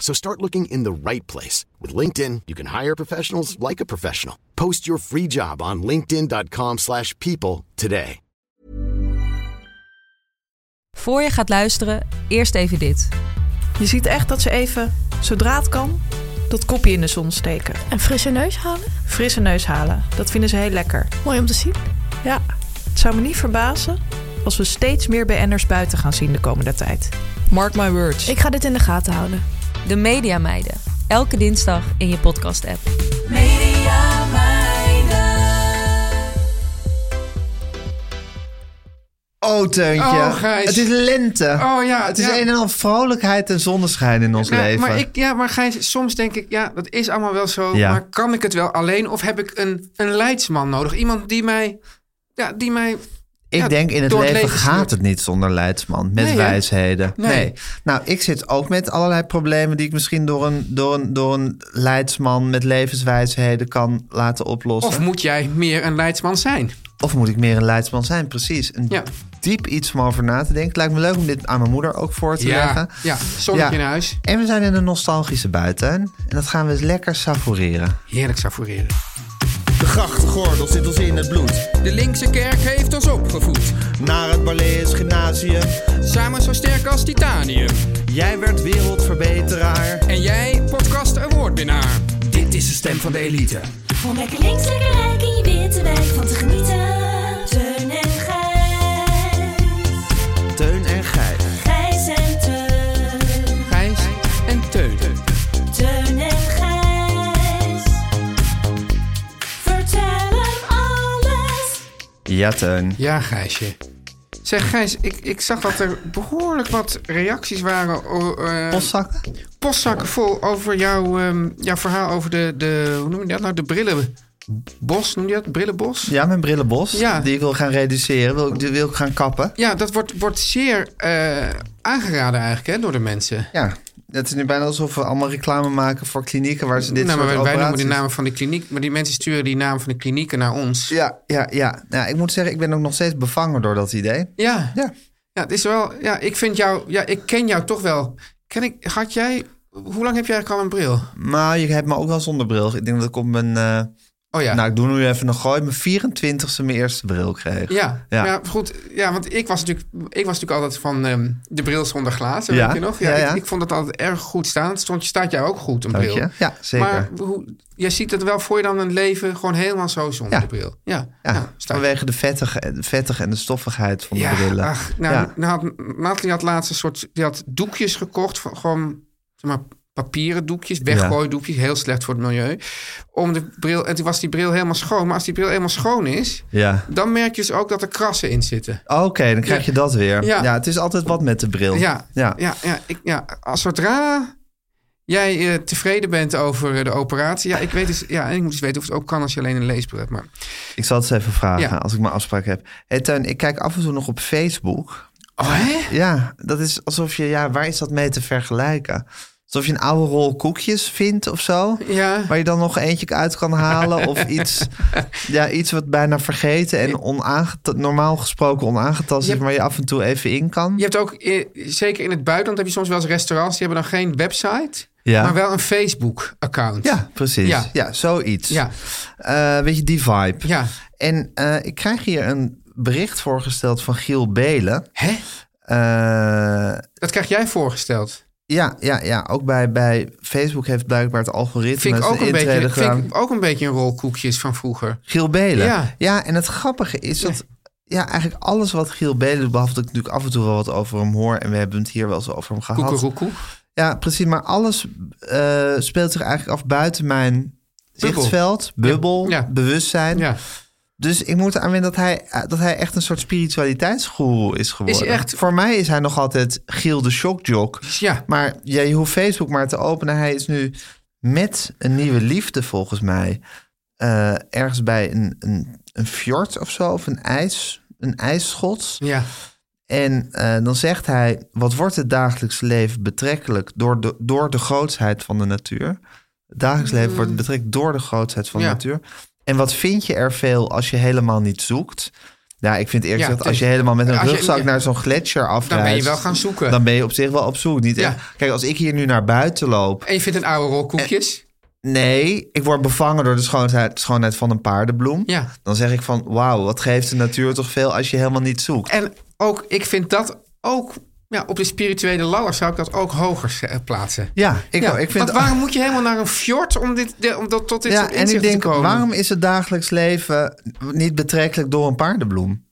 So start looking in the right place. With LinkedIn, you can hire professionals like a professional. Post your free job on linkedin.com/people slash people today. Voor je gaat luisteren, eerst even dit. Je ziet echt dat ze even, zodra het kan, dat kopje in de zon steken. En frisse neus halen? Frisse neus halen. Dat vinden ze heel lekker. Mooi om te zien. Ja, het zou me niet verbazen als we steeds meer BN'ers buiten gaan zien de komende tijd. Mark my words. Ik ga dit in de gaten houden. De Media Meiden. Elke dinsdag in je podcast-app. Oh, Teuntje. Oh, Gijs. het is lente. Oh ja, het is ja. een en al vrolijkheid en zonneschijn in ons Nee, leven. Maar ik, ja, maar Gijs, soms denk ik, ja, dat is allemaal wel zo. Ja. Maar kan ik het wel alleen? Of heb ik een, een leidsman nodig? Iemand die mij, ja, die mij... Ik ja, denk in het door leven, stuurt. gaat het niet zonder leidsman. Met Nee, hè? wijsheden. Nee. Nee. Nou, ik zit ook met allerlei problemen die ik misschien door een, door een, door een leidsman met levenswijsheden kan laten oplossen. Of moet jij meer een leidsman zijn? Of moet ik meer een leidsman zijn? Precies. Een Ja. diep iets om over na te denken. Het lijkt me leuk om dit aan mijn moeder ook voor te Ja, leggen. ja, zonnetje in huis. En we zijn in een nostalgische buitentuin. En dat gaan we eens lekker savoureren. Heerlijk savoureren. De grachtgordel zit ons in het bloed. De linkse kerk heeft ons opgevoed. Naar het Balees Gymnasium. Samen zo sterk als titanium. Jij werd wereldverbeteraar. En jij, podcast awardwinnaar. Dit is de stem van de elite. Om lekker links, lekker rijk in je witte wijk van te genieten. Teun en Gijs. Teun en Gijs. Gijs en Teun. Gijs en Teun. Teun en Gijs. Vertel hem alles. Ja, Teun. Ja, Gijsje. Zeg, Gijs, ik, ik zag dat er behoorlijk wat reacties waren. o- eh, Postzakken? postzakken vol over jouw, ehm, jouw verhaal over de, de... Hoe noem je dat nou? De brillenbos, noem je dat? Brillenbos? Ja, mijn brillenbos. Ja. Die ik wil gaan reduceren. Wil, ik- die wil ik gaan kappen. Ja, dat wordt, wordt zeer eh, aangeraden eigenlijk hè, door de mensen. Ja. Het is nu bijna alsof we allemaal reclame maken voor klinieken waar ze dit nou, maar soort wij, wij noemen operaties... de namen van de kliniek, maar die mensen sturen die namen van de klinieken naar ons. Ja, ja, ja. Nou, ik moet zeggen, ik ben ook nog steeds bevangen door dat idee. Ja, Ja. ja het is wel. Ja, ik vind jou. Ja, ik ken jou toch wel. Ken ik, had jij. Hoe lang heb jij eigenlijk al een bril? Maar je hebt me ook wel zonder bril. Ik denk dat ik op mijn... eh, Oh ja. Nou, ik doe nu even nog gooi. Mijn 24ste mijn eerste bril kreeg. ja, ja. ja. goed. Ja, want ik was natuurlijk, ik was natuurlijk altijd van ehm, de bril zonder glazen, Ja. weet je nog? Ja, Ja, ja. Ik, ik vond dat altijd erg goed staan. Het Stond, staat jou ook goed, een Dank bril. je. Ja, zeker. Maar hoe, jij ziet het wel voor je dan een leven gewoon helemaal zo zonder Ja. de bril. Ja, ja, ja, staat- vanwege de vettige, de vettige en de stoffigheid van de brillen. Ach, nou, Ja. nou had, Nathalie had laatst een soort... Die had doekjes gekocht, van, gewoon zeg maar, papieren doekjes, weggooidoekjes. Heel slecht voor het milieu. Om de bril, en toen was die bril helemaal schoon. Maar als die bril helemaal schoon is... Ja. Oh, dan merk je dus ook dat er krassen in zitten. Oké, dan krijg je dat weer. Ja. Ja. het is altijd wat met de bril. Ja, ja. ja. ja, ik, ja. Als zodra jij eh, tevreden bent over eh, de operatie... Ja, ik weet dus, ja, en ik moet eens weten of het ook kan als je alleen een leesbril hebt. Maar Ik zal het eens even vragen Ja. als ik mijn afspraak heb. Hé hey, Teun, ik kijk af en toe nog op Facebook. oh, hè? Ja, dat is alsof je, ja, waar is dat mee te vergelijken? Alsof je een oude rol koekjes vindt of zo. Ja. Waar je dan nog eentje uit kan halen of iets, ja, iets wat bijna vergeten en onaanget- normaal gesproken onaangetast Je is, hebt- maar je af en toe even in kan. Je hebt ook, eh, zeker in het buitenland heb je soms wel eens restaurants... die hebben dan geen website, Ja. maar wel een Facebook-account. Ja, precies. Ja, Ja. zoiets. Ja. Eh, weet je, die vibe. Ja. En eh, ik krijg hier een bericht voorgesteld van Giel Belen. Hè? Eh, Dat krijg jij voorgesteld. Ja, ja, ja. Ook bij, bij Facebook heeft blijkbaar het algoritme Vind ik, zijn ook een, intrede beetje, gedaan. vind ik ook een beetje een rol koekjes van vroeger. Giel Belen. Ja. Ja. en het grappige is dat... Ja, eigenlijk alles wat Giel Belen doet, behalve dat ik natuurlijk af en toe wel wat over hem hoor. En we hebben het hier wel eens over hem gehad. Koekeroekoe. Ja, precies. Maar alles eh, speelt zich eigenlijk af buiten mijn Bubbel. zichtveld, bubbel, Ja. bewustzijn. Ja. Dus ik moet aan wennen dat hij, eh, dat hij echt een soort spiritualiteitsgoeroe is geworden. echt- Voor mij is hij nog altijd Giel de shockjock. Ja. Maar ja, je hoeft Facebook maar te openen. Hij is nu met een nieuwe liefde volgens mij. eh, ergens bij een, een, een fjord of zo, of een, ijs, een ijsschot. Ja. En eh, dan zegt hij, wat wordt het dagelijks leven betrekkelijk door de, door de grootsheid van de natuur? Het dagelijks leven wordt betrekkelijk door de grootsheid van Mm. Ja. de natuur. En wat vind je er veel als je helemaal niet zoekt? Ja, ik vind eerlijk Ja, gezegd, het als is- je helemaal met een als je- rugzak ja. naar zo'n gletsjer afreist... Dan ben je wel gaan zoeken. Dan ben je op zich wel op zoek. Niet Ja. echt- Kijk, als ik hier nu naar buiten loop... En je vindt een oude rol koekjes. Nee, ik word bevangen door de schoonheid, schoonheid van een paardenbloem. Ja. Dan zeg ik van, wauw, wat geeft de natuur toch veel als je helemaal niet zoekt? En ook, ik vind dat ook... Ja, op de spirituele ladder zou ik dat ook hoger eh, plaatsen. Ja, ik, ook. ik vind... Want waarom moet je helemaal naar een fjord om, dit, de- om dat, tot dit Ja, soort en ik inzichten denk, te komen? waarom is het dagelijks leven niet betrekkelijk door een paardenbloem?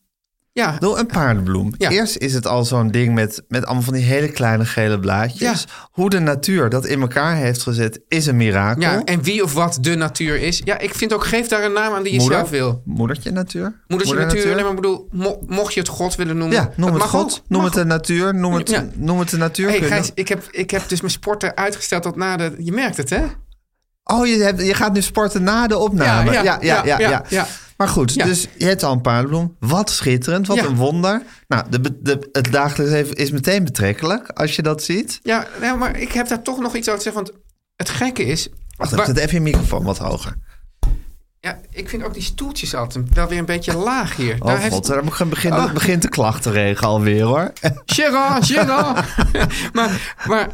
Ja, Door een paardenbloem. Ja. Eerst is het al zo'n ding met, met allemaal van die hele kleine gele blaadjes. Ja. Hoe de natuur dat in elkaar heeft gezet, is een mirakel. ja, en wie of wat de natuur is. Ja, ik vind ook, geef daar een naam aan die je Moeder? zelf wil. Moedertje natuur. Moedertje Moeder natuur, nee, maar ik bedoel, mo- mocht je het God willen noemen. Ja, noem dat het mag God, ook. noem Mag het de natuur, noem het, Ja. noem het de Hey, natuurkunde. Gijs, ik heb, ik heb dus mijn sport eruit gesteld tot na de... Je merkt het, hè? Oh, je, hebt, je gaat nu sporten na de opname. Ja, ja, ja. ja, ja. Maar goed, Ja. dus je hebt al een paardenbloem. Wat schitterend, wat Ja. een wonder. Nou, de, be- de, het dagelijks leven is meteen betrekkelijk als je dat ziet. Ja, nou, maar ik heb daar toch nog iets over te zeggen. Want het gekke is... Wacht waar- even, zet even je microfoon wat hoger. ja, ik vind ook die stoeltjes altijd wel weer een beetje laag hier. Oh god, daar begin- begint Oh. begint de klachtenregen alweer hoor. Gerard, Gerard. maar, maar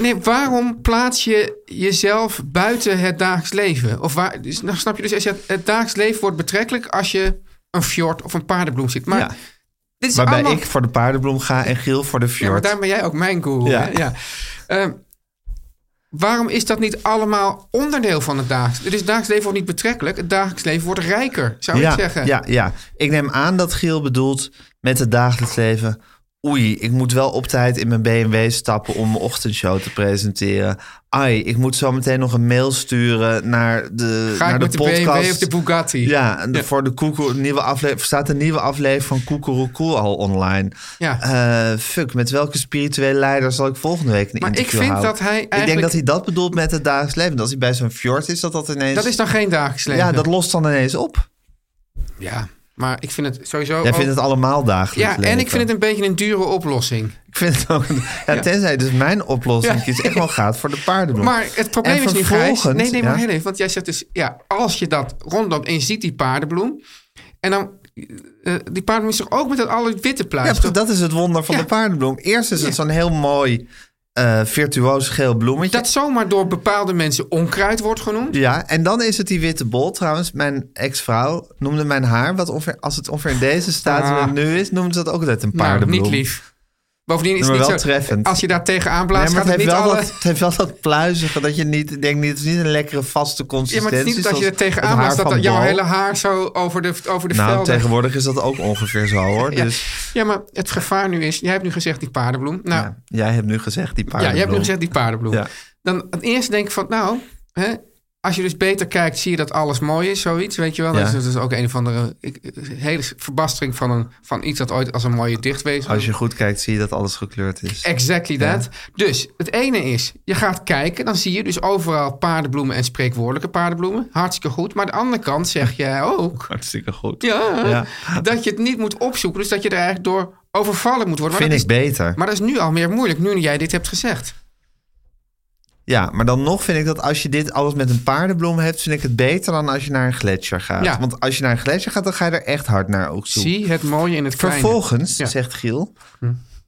nee, waarom plaats je jezelf buiten het dagelijks leven? Of waar, dus, nou snap je dus, als je het, het dagelijks leven wordt betrekkelijk als je een fjord of een paardenbloem ziet. Maar Ja. dit is Waarbij allemaal... ik voor de paardenbloem ga en Giel voor de Ja, maar fjord. daar ben jij ook mijn guru. Ja. hè? Ja. Ehm, waarom is dat niet allemaal onderdeel van het dagelijks leven? Dus het dagelijks leven wordt niet betrekkelijk. Het dagelijks leven wordt rijker, zou ja, ik zeggen. Ja, ja, ik neem aan dat Giel bedoelt met het dagelijks leven. Oei, ik moet wel op tijd in mijn BMW stappen om mijn ochtendshow te presenteren. Ai, ik moet zo meteen nog een mail sturen naar de, Ga ik naar met de, de podcast. BMW of de Bugatti? Ja, en de- voor de koekoe, nieuwe aflevering, staat een nieuwe aflevering van Koekeroekoe al online. Ja. Eh, fuck, met welke spirituele leider zal ik volgende week een Maar ik interview vind houden? dat hij Ik denk eigenlijk- dat hij dat bedoelt met het dagelijks leven. Dat als hij bij zo'n fjord is, dat dat ineens... Dat is dan geen dagelijks leven. dus- ja, dat lost dan ineens op. Ja, maar ik vind het sowieso... Jij ook- vindt het allemaal dagelijks Oh, ja, leven. en ik vind het een beetje een dure oplossing. Ik vind het ook... Ja, Tenzij dus mijn oplossing Ja. kiest echt wel gaat voor de paardenbloem. Maar het probleem En is nu, Gijs... vervolgens- Nee, nee, maar ja. heel even. Want jij zegt dus, ja, als je dat rondloopt en je ziet die paardenbloem... En dan, eh, die paardenbloem is toch ook met dat alle witte Ja, pluis? precies, dat is het wonder van Ja. de paardenbloem. Eerst is het Ja. zo'n heel mooi, eh virtuoos geel bloemetje. Dat zomaar door bepaalde mensen onkruid wordt genoemd. Ja, en dan is het die witte bol. Trouwens, mijn ex-vrouw noemde mijn haar, wat ongeveer, als het ongeveer in deze staat Ah. waar het nu is, noemde ze dat ook altijd een Maar paardenbloem. Nou, niet lief. Bovendien is Maar het niet wel zo... treffend. Als je daar tegenaan Nee, blaast, maar het gaat heeft, het niet wel alle... dat, het heeft wel dat pluizige, dat je niet denkt, niet, het is niet een lekkere vaste Ja, consistentie. maar het is niet dat je zoals er tegenaan het haar blaast... dat van jouw Bol. hele haar zo over de, over de Nou, velden... tegenwoordig is dat ook ongeveer zo hoor. Ja. Dus ja, maar het gevaar nu is... Jij hebt nu gezegd die paardenbloem. Nou, ja, jij hebt nu gezegd die Ja, paardenbloem. je hebt nu gezegd die paardenbloem. Ja. Dan het eerste denk ik van, nou, hè, als je dus beter kijkt, zie je dat alles mooi is, zoiets, weet je wel. Dus Ja. Dat, is, dat is ook een van de hele verbastering van, een, van iets dat ooit als een mooie dichtwezen. Als je goed kijkt, zie je dat alles gekleurd is. Exactly Ja. that. Dus het ene is, je gaat kijken, dan zie je dus overal paardenbloemen en spreekwoordelijke paardenbloemen. Hartstikke goed. Maar aan de andere kant zeg jij ook Hartstikke goed. ja, Ja. dat je het niet moet opzoeken. Dus dat je er eigenlijk door overvallen moet worden. Maar Vind ik dat is- beter. maar dat is nu al meer moeilijk, nu jij dit hebt gezegd. Ja, maar dan nog vind ik dat als je dit alles met een paardenbloem hebt, vind ik het beter dan als je naar een gletsjer gaat. Ja. Want als je naar een gletsjer gaat, dan ga je er echt hard naar ook zoeken. Zie het mooie in het kleine. Vervolgens, Ja. Hm. zegt Giel,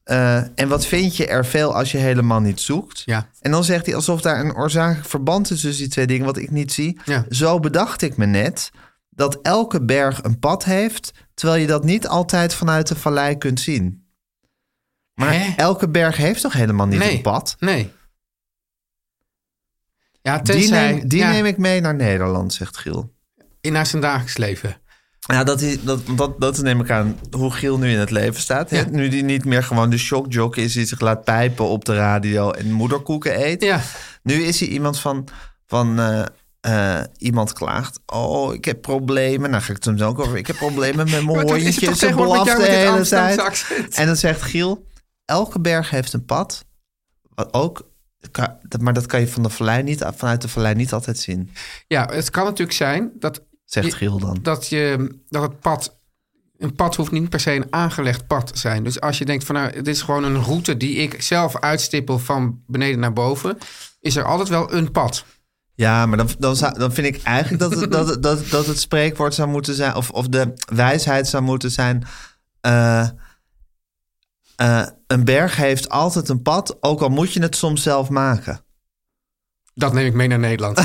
eh, en wat vind je er veel als je helemaal niet zoekt? Ja. En dan zegt hij alsof daar een oorzakelijk verband is tussen die twee dingen, wat ik niet zie. Ja. Zo bedacht ik me net dat elke berg een pad heeft, terwijl je dat niet altijd vanuit de vallei kunt zien. Maar Hè? elke berg heeft toch helemaal niet nee. een pad? Nee. Ja, Die, tenzij neem, die ja, neem ik mee naar Nederland, zegt Giel. in naar zijn dagelijks leven. Ja, dat, is, dat, dat, dat neem ik aan hoe Giel nu in het leven staat. hè? Ja. Nu die niet meer gewoon de shockjock is die zich laat pijpen op de radio en moederkoeken eet. Ja. Nu is hij iemand van, van eh, eh, iemand klaagt. Oh, ik heb problemen. Nou ga ik het hem zo ook over. Ik heb problemen met mijn Maar dat is het hondjes. toch Ze tegenwoordig met blaft jou de met dit hele Amsterdamse tijd. accent? En dan zegt Giel, elke berg heeft een pad. Wat ook, ka- dat- maar dat kan je van de vallei niet, vanuit de vallei niet altijd zien. Ja, het kan natuurlijk zijn dat, Zegt Je- Giel dan. dat, je, dat het pad... Een pad hoeft niet per se een aangelegd pad te zijn. Dus als je denkt van nou, dit is gewoon een route die ik zelf uitstippel van beneden naar boven, is er altijd wel een pad. Ja, maar dan, dan, zou- dan vind ik eigenlijk dat het, dat, het- dat, het- dat het spreekwoord zou moeten zijn, of, of de wijsheid zou moeten zijn. eh, eh, een berg heeft altijd een pad, ook al moet je het soms zelf maken. Dat neem ik mee naar Nederland.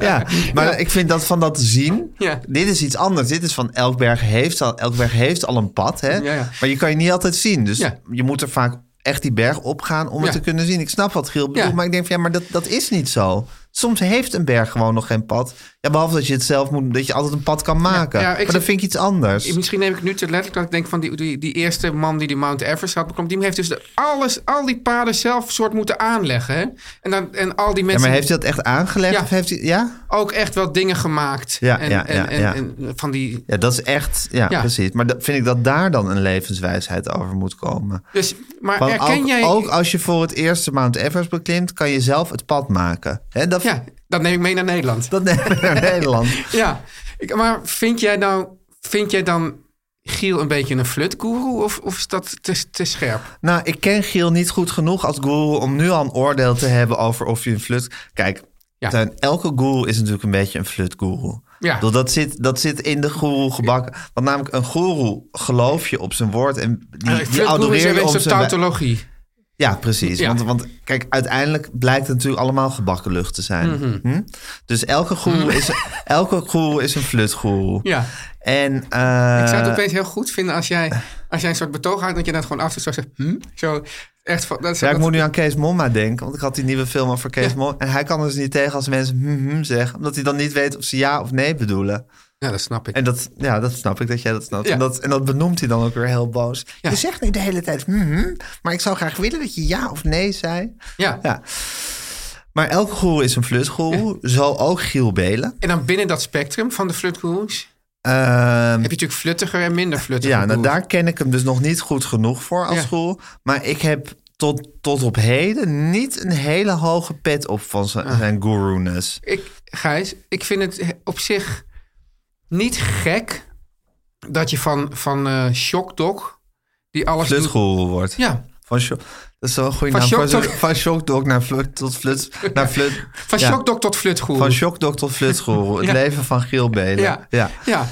Ja, maar ik vind dat van dat zien. Ja. Dit is iets anders. Dit is van elk berg heeft al, elk berg heeft al een pad. Hè? Ja, ja. Maar je kan je niet altijd zien. Dus Ja. je moet er vaak echt die berg op gaan om het Ja. te kunnen zien. Ik snap wat Giel bedoelt, Ja. maar ik denk van ja, maar dat, dat is niet zo. Soms heeft een berg gewoon nog geen pad. Ja, behalve dat je het zelf moet, dat je altijd een pad kan maken. ja, ik maar dat zit- vind ik iets anders. Misschien neem ik het nu te letterlijk dat ik denk van die, die, die eerste man die die Mount Everest had beklommen, die heeft dus de- alles, al die paden zelf soort moeten aanleggen. Hè? En, dan, en al die Ja, mensen maar heeft hij dat echt aangelegd? Ja. Of heeft hij, ja? ook echt wel dingen gemaakt. Ja, en, ja, en, ja, en, ja. en van die. ja, dat is echt, ja, Ja. precies. Maar dat, vind ik dat daar dan een levenswijsheid over moet komen. Dus, maar Want herken ook, jij. ook als je voor het eerst de Mount Everest beklimt, kan je zelf het pad maken. Hè, dat, Ja, dat neem ik mee naar Nederland. dat nemen we naar Nederland. Ja, ik, maar vind jij, nou, vind jij dan Giel een beetje een flutgoeroe of, of is dat te, te scherp? Nou, ik ken Giel niet goed genoeg als guru om nu al een oordeel te hebben over of je een flut... Kijk, Ja. Teun, elke guru is natuurlijk een beetje een flutguru. Ik Ja. bedoel, Dat zit, dat zit in de guru gebakken. Want namelijk een guru geloof je op zijn woord en die, Eh, die Flutgoeroe is adoreer een je op beetje zijn... wij- tautologie. Ja, precies. Ja. Want, want kijk, uiteindelijk blijkt het natuurlijk allemaal gebakken lucht te zijn. Mhm. Hm? Dus elke goeroe is, elke goeroe is een flutgoeroe. Ja. En, eh, Ik zou het opeens heel goed vinden als jij, als jij een soort betoog houdt... dat je dat gewoon af en toe zo zegt... Hm? Zo, echt van... Dat, ja, ik dat- moet nu aan Kees Momma denken, want ik had die nieuwe film over Kees Momma. En hij kan er dus niet tegen als mensen hm, hm zeggen, omdat hij dan niet weet of ze ja of nee bedoelen. ja, dat snap ik. En dat, ja, dat snap ik, dat jij dat snapt. Ja. En, dat, en dat benoemt hij dan ook weer heel boos. Ja. Je zegt niet de hele tijd, hm, hm, maar ik zou graag willen dat je ja of nee zei. ja. Ja. Maar elke goeroe is een flutgoeroe, zo ook Giel Belen. En dan binnen dat spectrum van de flutgoeroes... Ehm, heb je natuurlijk fluttiger en minder fluttiger. ja, nou, goeroes. daar ken ik hem dus nog niet goed genoeg voor als Ja. school. Maar ik heb tot, tot op heden niet een hele hoge pet op van zijn, Ah. zijn guru-ness. Ik, Gijs, ik vind het op zich niet gek... dat je van, van eh Shock Dog... die alles doet... Flutgoeroe wordt. Ja, Van sho- dat is wel een goede Van naam. Van shockdog- zo- Van shockdog naar flut, tot flut, naar flut. van ja. Shock Dog tot flutgoeroe. Van shockdog tot flutgoeroe. Het Ja. leven van Giel Belen. Ja. ja. Ja,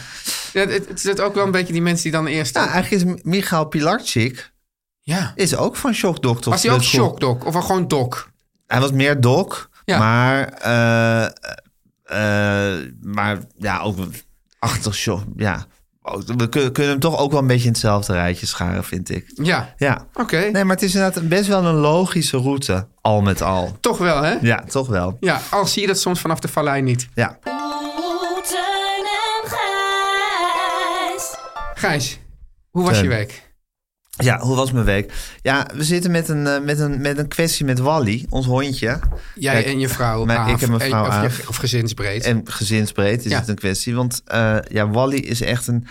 ja het, het zit ook wel een beetje die mensen die dan eerst... Nou, eigenlijk is Michael Pilarczyk ja. is ook van shockdog tot Was hij ook flutgoeroe. Shock Dog of wel gewoon Dog? Hij was meer doc, Ja. maar, eh, eh, maar ja, ook achter show. Ja. Ook- We kun- kunnen hem toch ook wel een beetje in hetzelfde rijtje scharen, vind ik. Ja, Ja. oké. Nee, maar het is inderdaad best wel een logische route, al met al. Toch wel, hè? Ja, toch wel. Ja, al zie je dat soms vanaf de vallei niet. Ja. Oeh, Teun en Gijs. Gijs, hoe was Teun. je week? Ja, hoe was mijn week? Ja, we zitten met een, eh, met een, met een kwestie met Wally, ons hondje. Jij Kijk, en je vrouw. mijn- Aaf, ik en mijn en- vrouw of, je- Aaf. of gezinsbreed. En gezinsbreed is Ja. het een kwestie. Want eh, ja, Wally is echt een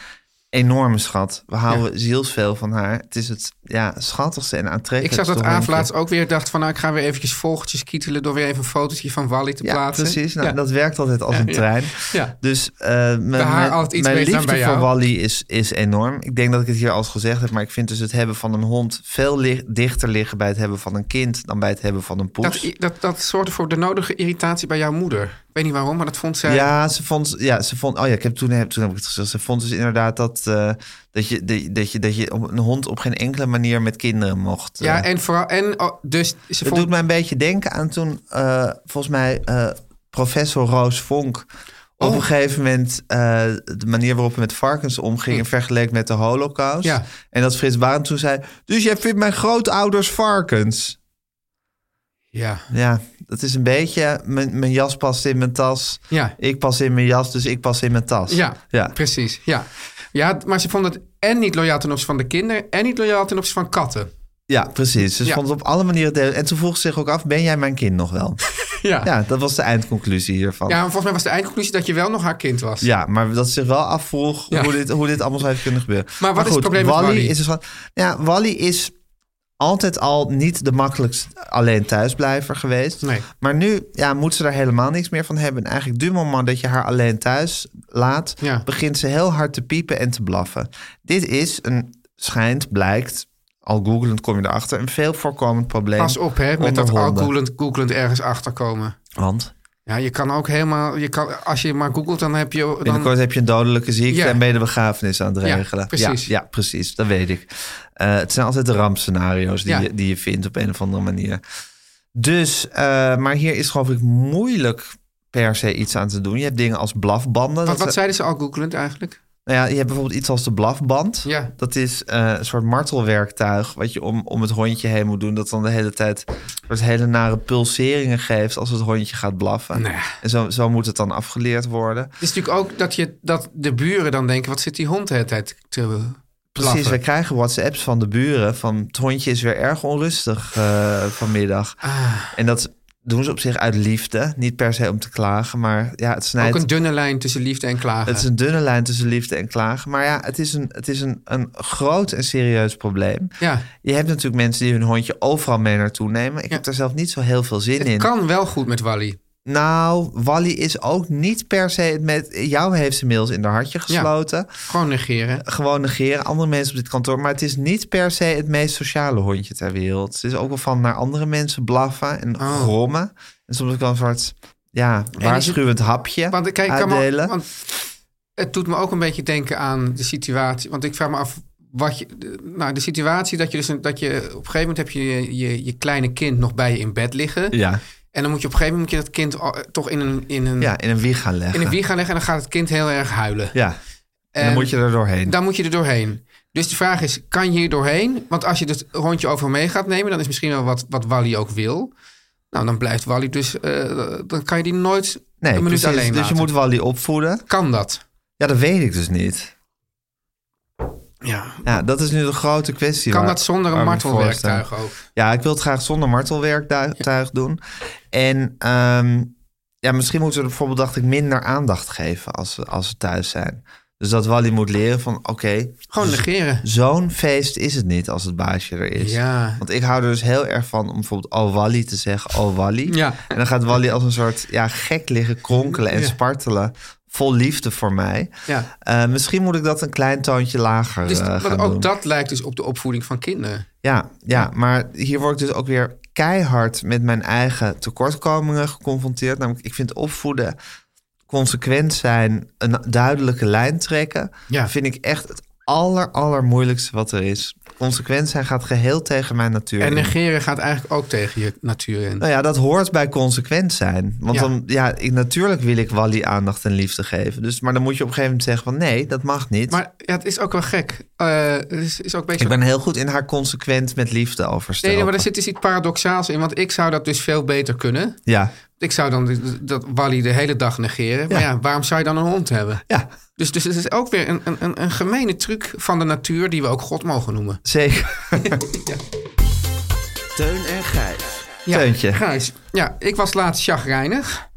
enorme schat. We houden zielsveel van haar. Het is het ja, schattigste en ik aantrekkelijkste zag dat Aaf hondje. laatst ook weer dacht van... nou, ik ga weer eventjes vogeltjes kietelen... door weer even een fotootje van Wally te ja, plaatsen. precies. Nou, ja. Dat werkt altijd als een ja. trein. Ja. Dus eh, mijn, haar mijn, altijd iets mijn beter dan liefde bij voor jou. Wally is, is enorm. Ik denk dat ik het hier al eens gezegd heb, maar ik vind dus het hebben van een hond veel li- dichter liggen bij het hebben van een kind dan bij het hebben van een poes. dat, dat, dat zorgde voor de nodige irritatie bij jouw moeder. Ik weet niet waarom, maar dat vond zij... Ja, ze vond, ja, ze vond, oh ja, ik heb toen, heb, toen heb ik het gezegd. Ze vond dus inderdaad dat, eh, dat, je, dat, je- dat je, dat je op- een hond op geen enkele manier met kinderen mocht. eh. Ja, en vooral... En, oh, dus ze het vond... doet mij een beetje denken aan toen, eh, volgens mij, eh, professor Roos Vonk. Op Oh. een gegeven moment eh, de manier waarop we met varkens omgingen... vergeleken met de holocaust. Hm. Ja. En dat Frits Baan toen zei... dus jij vindt mijn grootouders varkens? Ja. Ja, dat is een beetje. Mijn, mijn jas past in mijn tas. Ja. Ik pas in mijn jas, dus ik pas in mijn tas. Ja, ja. precies. Ja. ja, maar ze vonden het en niet loyaal ten opzichte van de kinderen... en niet loyaal ten opzichte van katten. ja precies. Dus Ja. vond het op alle manieren deel. En toen vroeg ze zich ook af: ben jij mijn kind nog wel? Ja. Ja, ja, dat was de eindconclusie hiervan. maar volgens mij was de eindconclusie dat je wel nog haar kind was. Ja, maar dat ze zich wel afvroeg Ja. hoe, dit, hoe dit allemaal zou hebben kunnen gebeuren. Maar wat is het probleem met Wally? Is dus van, ja, Wally is altijd al niet de makkelijkst alleen thuisblijver geweest. Nee. Maar nu ja, moet ze daar helemaal niks meer van hebben. En eigenlijk du moment dat je haar alleen thuis laat... Ja. begint ze heel hard te piepen en te blaffen. Dit is een, schijnt, blijkt... al googelend kom je erachter... een veel voorkomend probleem Pas op hè, met onder dat al honden. googelend, googelend ergens achterkomen. Want Ja, je kan ook helemaal... Je kan, als je maar googelt, dan heb je... Dan, Binnenkort heb je een dodelijke ziekte Ja. en ben je de begrafenis aan het Ja, regelen. precies. Ja, ja, precies. Dat weet ik. Eh, het zijn altijd de rampscenario's die, Ja. je, die je vindt op een of andere manier. Dus, eh, maar hier is geloof ik moeilijk per se iets aan te doen. Je hebt dingen als blafbanden. wat, Dat- wat zeiden ze al googelend eigenlijk? nou ja, je hebt bijvoorbeeld iets als de blafband. Ja. Dat is eh, een soort martelwerktuig wat je om, om het hondje heen moet doen. Dat dan de hele tijd soort hele nare pulseringen geeft als het hondje gaat blaffen. Nee. En zo, zo moet het dan afgeleerd worden. Het is natuurlijk ook dat, je, dat de buren dan denken... wat zit die hond de hele tijd te blaffen? Precies, wij krijgen WhatsApps van de buren van het hondje is weer erg onrustig eh, vanmiddag. Ah. En dat doen ze op zich uit liefde, niet per se om te klagen, maar ja, het snijdt. Ook een dunne lijn tussen liefde en klagen. Het is een dunne lijn tussen liefde en klagen. Maar ja, het is een, het is een, een groot en serieus probleem. Ja, Je hebt natuurlijk mensen die hun hondje overal mee naartoe nemen. Ik Ja. heb daar zelf niet zo heel veel zin in. het kan wel goed met Wally. Nou, Wally is ook niet per se het met. Jou heeft ze inmiddels in haar hartje gesloten. Gewoon negeren. gewoon negeren. Andere mensen op dit kantoor. Maar het is niet per se het meest sociale hondje ter wereld. Het is ook wel van naar andere mensen blaffen en Oh. grommen. En soms ook wel een soort ja, het- waarschuwend hapje Want kijk, ik kan uitdelen. me, want het doet me ook een beetje denken aan de situatie. Want ik vraag me af wat je. de- Nou, de situatie dat je dus een, dat je op een gegeven moment heb je je, je je kleine kind nog bij je in bed liggen. ja. En dan moet je op een gegeven moment moet je dat kind al- eh, toch in een, in een, ja, in een wieg gaan leggen. in een wieg gaan leggen en dan gaat het kind heel erg huilen. Ja, en, dan moet je er doorheen. Dan moet je er doorheen. Dus de vraag is, kan je hier doorheen? Want als je het rondje over mee gaat nemen, dan is misschien wel wat, wat Wally ook wil. Nou, dan blijft Wally dus, eh, dan kan je die nooit nee, een minuut precies. alleen dus laten. je moet Wally opvoeden. Kan dat? Ja, dat weet ik dus niet. Ja. Ja, dat is nu de grote kwestie. Kan waar- dat zonder een waar we voor martelwerktuig staan. ook? Ja, ik wil het graag zonder martelwerktuig doen. En ehm, ja, misschien moeten we er bijvoorbeeld, dacht ik, minder aandacht geven als ze, als ze thuis zijn. Dus dat Wally moet leren van, oké, Gewoon Dus- negeren. zo'n feest is het niet als het baasje er is. Ja. Want ik hou er dus heel erg van om bijvoorbeeld oh Wally te zeggen, oh Wally. Ja. En dan gaat Wally als een soort ja, gek liggen kronkelen en Ja. spartelen. Vol liefde voor mij. Ja. Eh, misschien moet ik dat een klein toontje lager Dus eh, want gaan ook doen. dat lijkt dus op de opvoeding van kinderen. Ja, ja, maar hier word ik dus ook weer keihard met mijn eigen tekortkomingen geconfronteerd. Namelijk, ik vind opvoeden, consequent zijn, een duidelijke lijn trekken, Ja. vind ik echt het aller, allermoeilijkste wat er is. Consequent zijn gaat geheel tegen mijn natuur. En in. negeren gaat eigenlijk ook tegen je natuur in. Nou ja, dat hoort bij consequent zijn. Want Ja. dan, ja, ik, natuurlijk wil ik Wally aandacht en liefde geven. Dus, maar dan moet je op een gegeven moment zeggen van nee, dat mag niet. Maar ja, het is ook wel gek. Eh, het is, is ook een beetje... ik ben heel goed in haar consequent met liefde overstellen. Nee, nee, maar er zit dus iets paradoxaals in. Want ik zou dat dus veel beter kunnen. Ja, Ik zou dan de- dat Wally de hele dag negeren. Maar Ja. ja, waarom zou je dan een hond hebben? ja. Dus, dus het is ook weer een, een- een, een gemene truc van de natuur... die we ook God mogen noemen. Zeker. Teun en Gijs. Ja, Teuntje. Gijs, ja, ik was laatst chagrijnig.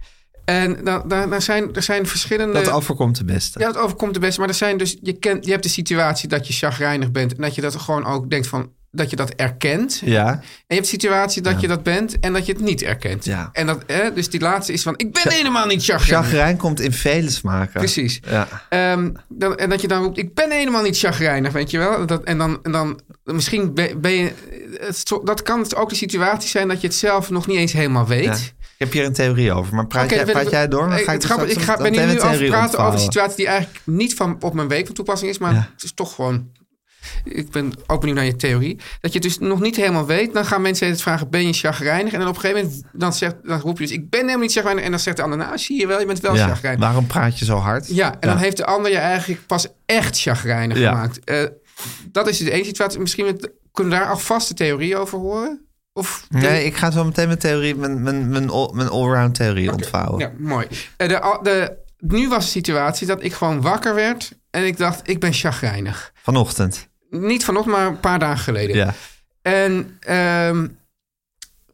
En daar daar daar zijn, er zijn verschillende... Dat overkomt de beste. Ja, het overkomt de beste. Maar er zijn dus, je, kent, je hebt de situatie dat je chagrijnig bent. En dat je dat gewoon ook denkt van, dat je dat erkent. Ja, En je hebt de situatie dat je dat bent en dat je het niet erkent. Ja. En dat, hè, dus die laatste is van, ik ben helemaal niet chagrijnig. chagrijn komt in vele smaken. Precies. Ja. Ehm, dan, en dat je dan roept, ik ben helemaal niet chagrijnig, weet je wel. Dat, en dan, en dan misschien ben, ben je... Het, zo- dat kan het ook de situatie zijn dat je het zelf nog niet eens helemaal weet. Ja. Ik heb hier een theorie over, maar praat, Oké, jij, dan ben praat ik- jij door? Dan Eh, ga ik, dus er het grappige- ik straks ga, ben meteen hier nu een over theorie praten over ontvouwen. een situatie die eigenlijk niet van op mijn week van toepassing is, maar Ja. het is toch gewoon. Ik ben ook benieuwd naar je theorie. Dat je het dus nog niet helemaal weet. Dan gaan mensen het vragen: ben je chagrijnig? En dan op een gegeven moment dan zegt, dan roep je dus: ik ben helemaal niet chagrijnig. En dan zegt de ander: nou, zie je wel, je bent wel Ja. chagrijnig. Waarom praat je zo hard? Ja, en dan heeft de ander je eigenlijk pas echt chagrijnig Ja. dus gemaakt. Eh, dat is de ene situatie. Misschien met- kunnen we daar alvast de theorie over horen. Of Nee, ik ga zo meteen mijn theorie, mijn, mijn, mijn, all- mijn allround theorie ontvouwen. Ja, mooi. Eh, De, de, nu was de situatie dat ik gewoon wakker werd en ik dacht, ik ben chagrijnig. Vanochtend. Niet vanochtend, maar een paar dagen geleden. Ja. En ehm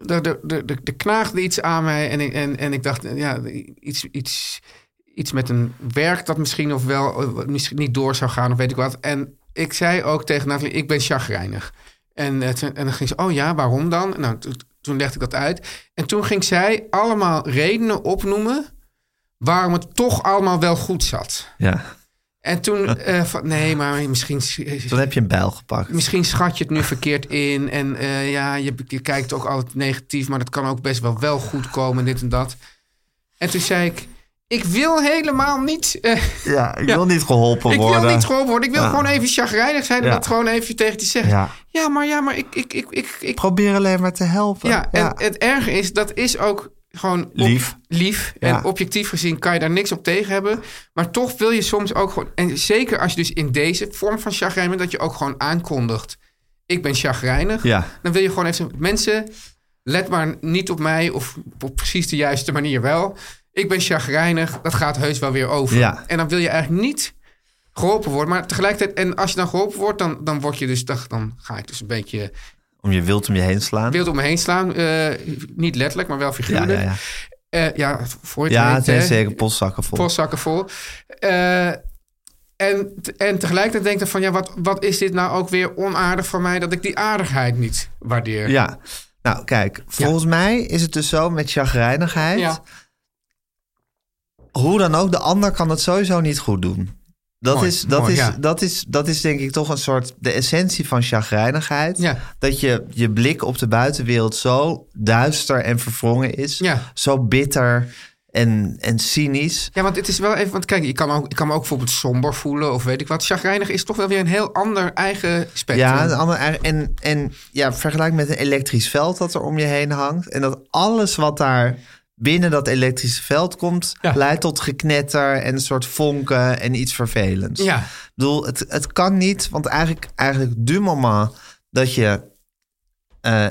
er de, de, de, de knaagde iets aan mij en ik, en, en ik dacht, ja, iets, iets, iets met een werk dat misschien of wel eh, misschien niet door zou gaan of weet ik wat. En ik zei ook tegen Nathalie, ik ben chagrijnig. En, eh, toen- en dan ging ze, oh ja, waarom dan? Nou, to- toen legde ik dat uit. En toen ging zij allemaal redenen opnoemen waarom het toch allemaal wel goed zat. ja. En toen, eh, van, nee, maar misschien Toen heb je een bijl gepakt. misschien schat je het nu verkeerd in. En eh, ja, je, je kijkt ook altijd negatief, maar dat kan ook best wel wel goed komen, dit en dat. En toen zei ik, ik wil helemaal niet, eh, Ja, ik Ja. wil niet geholpen ik worden. wil niet geholpen worden. Ik wil Ja. gewoon even chagrijnig zijn en Ja. dat gewoon even tegen te zeggen. Ja, Ja. maar ja, maar ik, ik, ik, ik, ik- Probeer alleen maar te helpen. ja, en het erge is, dat is ook gewoon op- Lief. lief. En Ja. objectief gezien kan je daar niks op tegen hebben. Maar toch wil je soms ook gewoon... En zeker als je dus in deze vorm van chagrijn bent... dat je ook gewoon aankondigt... ik ben chagrijnig. Ja. Dan wil je gewoon even... mensen, let maar niet op mij... of op precies de juiste manier wel. Ik ben chagrijnig, dat gaat heus wel weer over. Ja. En dan wil je eigenlijk niet geholpen worden. Maar tegelijkertijd... en als je dan geholpen wordt... dan, dan, word je dus, dan, dan ga ik dus een beetje Om je wild om je heen slaan. wild om me heen slaan. Eh, niet letterlijk, maar wel ja, figuurlijk. ja, ja. Eh, ja, voor je ja, het het weet, zijn hè, zeker postzakken vol. Postzakken vol. Eh, en, te- en tegelijkertijd denk ik van... ja, wat, wat is dit nou ook weer onaardig van mij... dat ik die aardigheid niet waardeer. Ja. Nou, kijk, volgens mij is het dus zo met chagrijnigheid. Ja. Hoe dan ook, de ander kan het sowieso niet goed doen. Dat, Mooi, is, dat, mooi, is, ja. dat, is, dat is denk ik toch een soort de essentie van chagrijnigheid. Ja. Dat je, je blik op de buitenwereld zo duister en verwrongen is. Ja. Zo bitter en, en cynisch. Ja, want het is wel even... want kijk, ik kan, ook, ik kan me ook bijvoorbeeld somber voelen... of weet ik wat. Chagrijnig is toch wel weer een heel ander eigen spectrum. Ja, een ander- en, en ja, vergelijk met een elektrisch veld dat er om je heen hangt. En dat alles wat daar binnen dat elektrische veld komt, Ja. leidt tot geknetter en een soort vonken en iets vervelends. Ja. Ik bedoel, het, het kan niet, want eigenlijk, eigenlijk du moment dat je eh,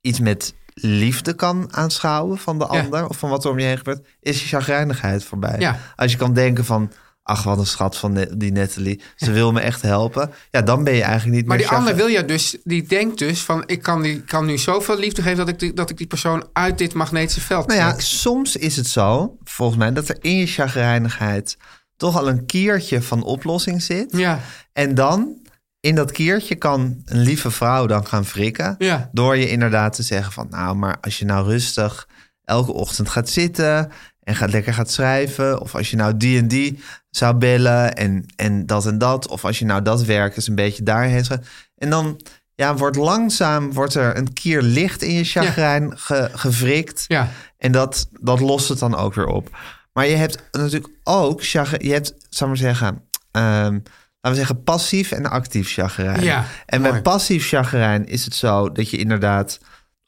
iets met liefde kan aanschouwen van de Ja. ander of van wat er om je heen gebeurt, is je chagrijnigheid voorbij. Ja. Als je kan denken van, ach wat een schat van ne- die Natalie, ze wil me echt helpen, ja, dan ben je eigenlijk niet Maar meer die ander chagrijnig. wil je dus, die denkt dus van... ik kan, die, kan nu zoveel liefde geven dat ik, die, dat ik die persoon uit dit magnetische veld Nou ja, trek. soms is het zo, volgens mij, dat er in je chagrijnigheid toch al een kiertje van oplossing zit. Ja. En dan in dat kiertje kan een lieve vrouw dan gaan wrikken. Ja. Door je inderdaad te zeggen van, nou, maar als je nou rustig elke ochtend gaat zitten en gaat lekker gaat schrijven. Of als je nou die en die zou bellen en, en dat en dat. Of als je nou dat werk eens een beetje daarheen schrijft. En dan ja, wordt langzaam wordt er een kier licht in je chagrijn ge- gewrikt. Ja. En dat, dat lost het dan ook weer op. Maar je hebt natuurlijk ook chagr- Je hebt, zal ik maar zeggen, ehm, laten we zeggen, passief en actief chagrijn. Ja, en mooi. bij passief chagrijn is het zo dat je inderdaad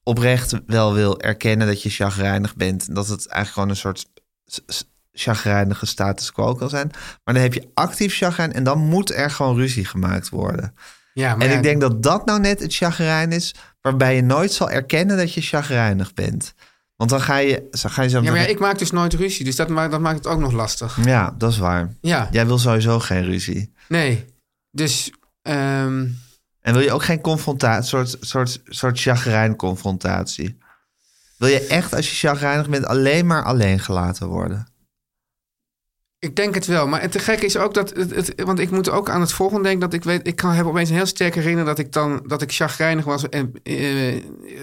oprecht wel wil erkennen dat je chagrijnig bent. En dat het eigenlijk gewoon een soort s- s- chagrijnige status quo kan zijn. Maar dan heb je actief chagrijn en dan moet er gewoon ruzie gemaakt worden. Ja, maar En ja, ik denk dat dat nou net het chagrijn is... waarbij je nooit zal erkennen dat je chagrijnig bent. Want dan ga je, dan ga je zo... Ja, maar ja, ik maak dus nooit ruzie, dus dat, ma dat maakt het ook nog lastig. Ja, dat is waar. Ja, Jij wil sowieso geen ruzie. nee. Dus, ehm, En wil je ook geen confrontatie, soort, soort, soort chagrijn-confrontatie? Wil je echt, als je chagrijnig bent, alleen maar alleen gelaten worden? ik denk het wel. Maar het te gek is ook dat, het, het- want ik moet ook aan het volgende denken, dat ik weet, ik kan, heb opeens een heel sterk herinneren dat ik dan, dat ik chagrijnig was en, eh,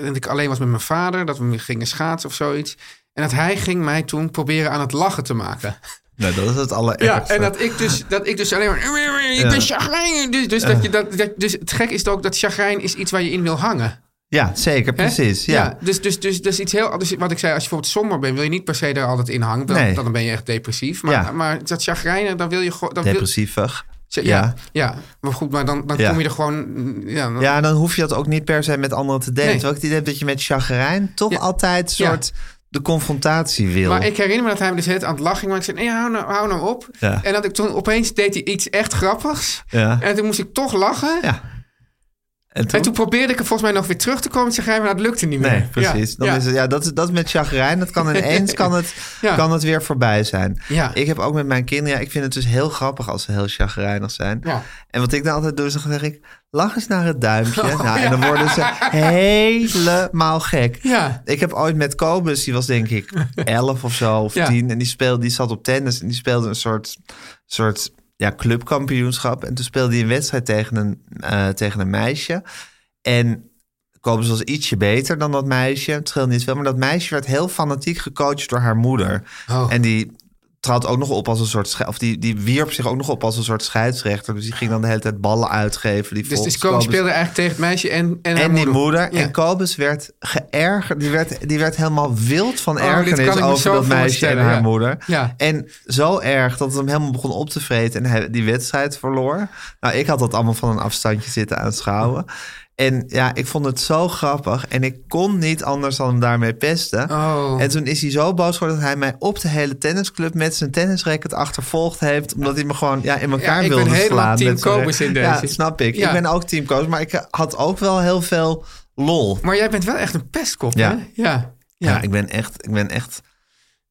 en ik alleen was met mijn vader, dat we gingen schaatsen of zoiets. En dat hij ging mij toen proberen aan het lachen te maken. Nou, dat is het Ja, allerergste. en dat ik dus, dat ik dus alleen maar... Ik ben chagrijnig. Dus, dus, dat je, dat, dat- dus het gek is ook dat chagrijn is iets waar je in wil hangen. ja zeker, Hè? precies. Ja. dus, dus, dus, dus iets heel anders. Wat ik zei, als je bijvoorbeeld somber bent, wil je niet per se daar altijd in hangen. Dan, Nee. dan ben je echt depressief. Maar, Ja. maar dat chagrijnen, dan wil je gewoon. dan wil- Depressievig. Ja, ja. ja. maar goed, maar dan, dan Ja. kom je er gewoon. mm, Ja, dan- Ja, en dan hoef je dat ook niet per se met anderen te delen. Nee. Terwijl ik het idee heb dat je met chagrijn toch Ja. altijd Ja. soort de confrontatie wil. Maar ik herinner me dat hij me dus het aan het lachen ging. Maar ik zei, nee, hou nou, hou nou op. Ja. En dat ik toen opeens deed hij iets echt grappigs. Ja. En toen moest ik toch lachen. Ja. En En toen probeerde ik er volgens mij nog weer terug te komen te zeggen, maar dat lukte niet meer. Nee, precies. Ja, Dan ja. Is het, ja, dat, dat met chagrijn, dat kan ineens kan het, Ja. kan het weer voorbij zijn. Ja. Ik heb ook met mijn kinderen, ja, ik vind het dus heel grappig als ze heel chagrijnig zijn. Ja. En wat ik dan altijd doe, is dan zeg ik, lach eens naar het duimpje. nou, ja. En dan worden ze helemaal gek. Ja. Ik heb ooit met Kobus, die was denk ik elf of zo, of Ja. tien. En die, speelde, die zat op tennis en die speelde een soort, soort ja, clubkampioenschap. En toen speelde hij een wedstrijd tegen een, eh, tegen een meisje. En Kobus was ietsje beter dan dat meisje. Het scheelde niet veel, maar dat meisje werd heel fanatiek gecoacht door haar moeder. Oh. En die trad ook nog op als een soort sche- of die, die wierp zich ook nog op als een soort scheidsrechter. Dus die ging dan de hele tijd ballen uitgeven. Die Dus volgens de coach Kobus- speelde eigenlijk tegen het meisje en, en, haar en die moeder. Ja. En Kobus werd geërgerd. Die werd, die werd helemaal wild van Oh, dit kan ik ergernis me over zo dat meisje en voorstellen, haar ja. moeder. Ja. En zo erg dat het hem helemaal begon op te vreten. En hij die wedstrijd verloor. Nou, ik had dat allemaal van een afstandje zitten aanschouwen. En ja, ik vond het zo grappig. En ik kon niet anders dan hem daarmee pesten. Oh. En toen is hij zo boos geworden dat hij mij op de hele tennisclub... met zijn tennisracket achtervolgd heeft. Omdat hij me gewoon ja, in elkaar ik ben wilde helemaal slaan. team met zijn- Kobus in deze. Ja, snap ik. Ja. Ik ben ook teamcoach, maar ik had ook wel heel veel lol. Maar jij bent wel echt een pestkop, Ja. hè? Ja. Ja, ik, ben echt, ik ben echt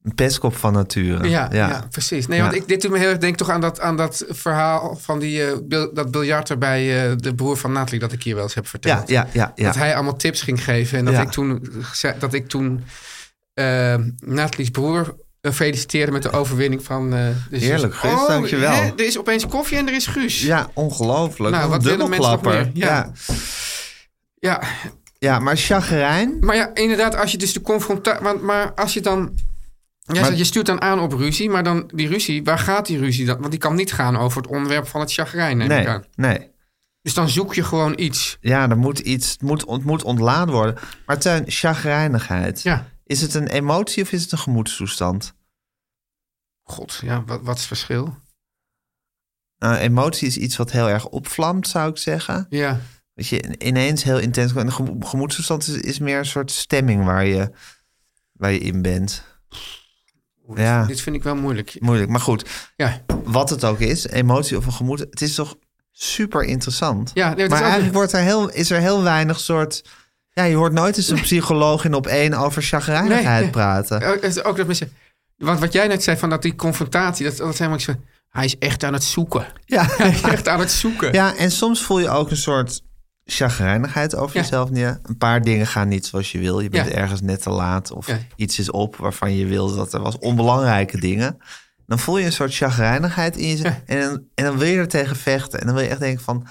een pestkop van nature. Ja, ja. precies. Nee, Ja. want ik, dit doet me heel erg denk toch aan dat, aan dat verhaal van die, eh, bil- dat biljarter bij eh, de broer van Natalie dat ik hier wel eens heb ja, verteld. ja, ja, ja. Dat hij allemaal tips ging geven en dat Ja. ik toen, zei- dat ik toen eh, Natalie's broer eh, feliciteerde met de overwinning van... eh de zus. Heerlijk, Guus, dankjewel. hè, er is opeens koffie en er is Guus. Ja, ongelooflijk. Nou, Wat wat een willen mensen nog dubbelklapper. meer? Ja. Ja. ja. Ja, maar chagrijn. Maar ja, inderdaad, als je dus de confrontatie... Maar, maar als je dan... Jij Maar- zegt, je stuurt dan aan op ruzie, maar dan die ruzie, waar gaat die ruzie dan? Want die kan niet gaan over het onderwerp van het chagrijn. neem ik Nee, aan. nee. Dus dan zoek je gewoon iets. Ja, er moet iets, het moet, het moet ontladen worden. Maar Teun, chagrijnigheid. Ja. Is het een emotie of is het een gemoedstoestand? God, ja, wat, wat is het verschil? Nou, emotie is iets wat heel erg opvlamt, zou ik zeggen. Ja. Dat je ineens heel intens... Een gemo- gemoedstoestand is, is meer een soort stemming waar je, waar je in bent. Oeh, dit- Ja, Dit vind ik wel moeilijk. moeilijk. Maar goed, Ja, wat het ook is, emotie of een gemoed... Het is toch super interessant? Ja, nee, maar het is maar ook- eigenlijk wordt er heel, is er heel weinig soort... Ja, je hoort nooit eens een psycholoog in op één over chagrijnigheid Nee. praten. ook, het is ook dat mensen... Want wat jij net zei van dat die confrontatie, dat, dat is helemaal niet zo... Hij is echt aan het zoeken. Hij is echt aan het zoeken. Ja, en soms voel je ook een soort chagrijnigheid over Ja. jezelf neer. Een paar dingen gaan niet zoals je wil. Je bent Ja. ergens net te laat of Ja. iets is op waarvan je wilde dat er was. Onbelangrijke dingen. Dan voel je een soort chagrijnigheid in jezelf. En, dan- en dan wil je er tegen vechten. En dan wil je echt denken van...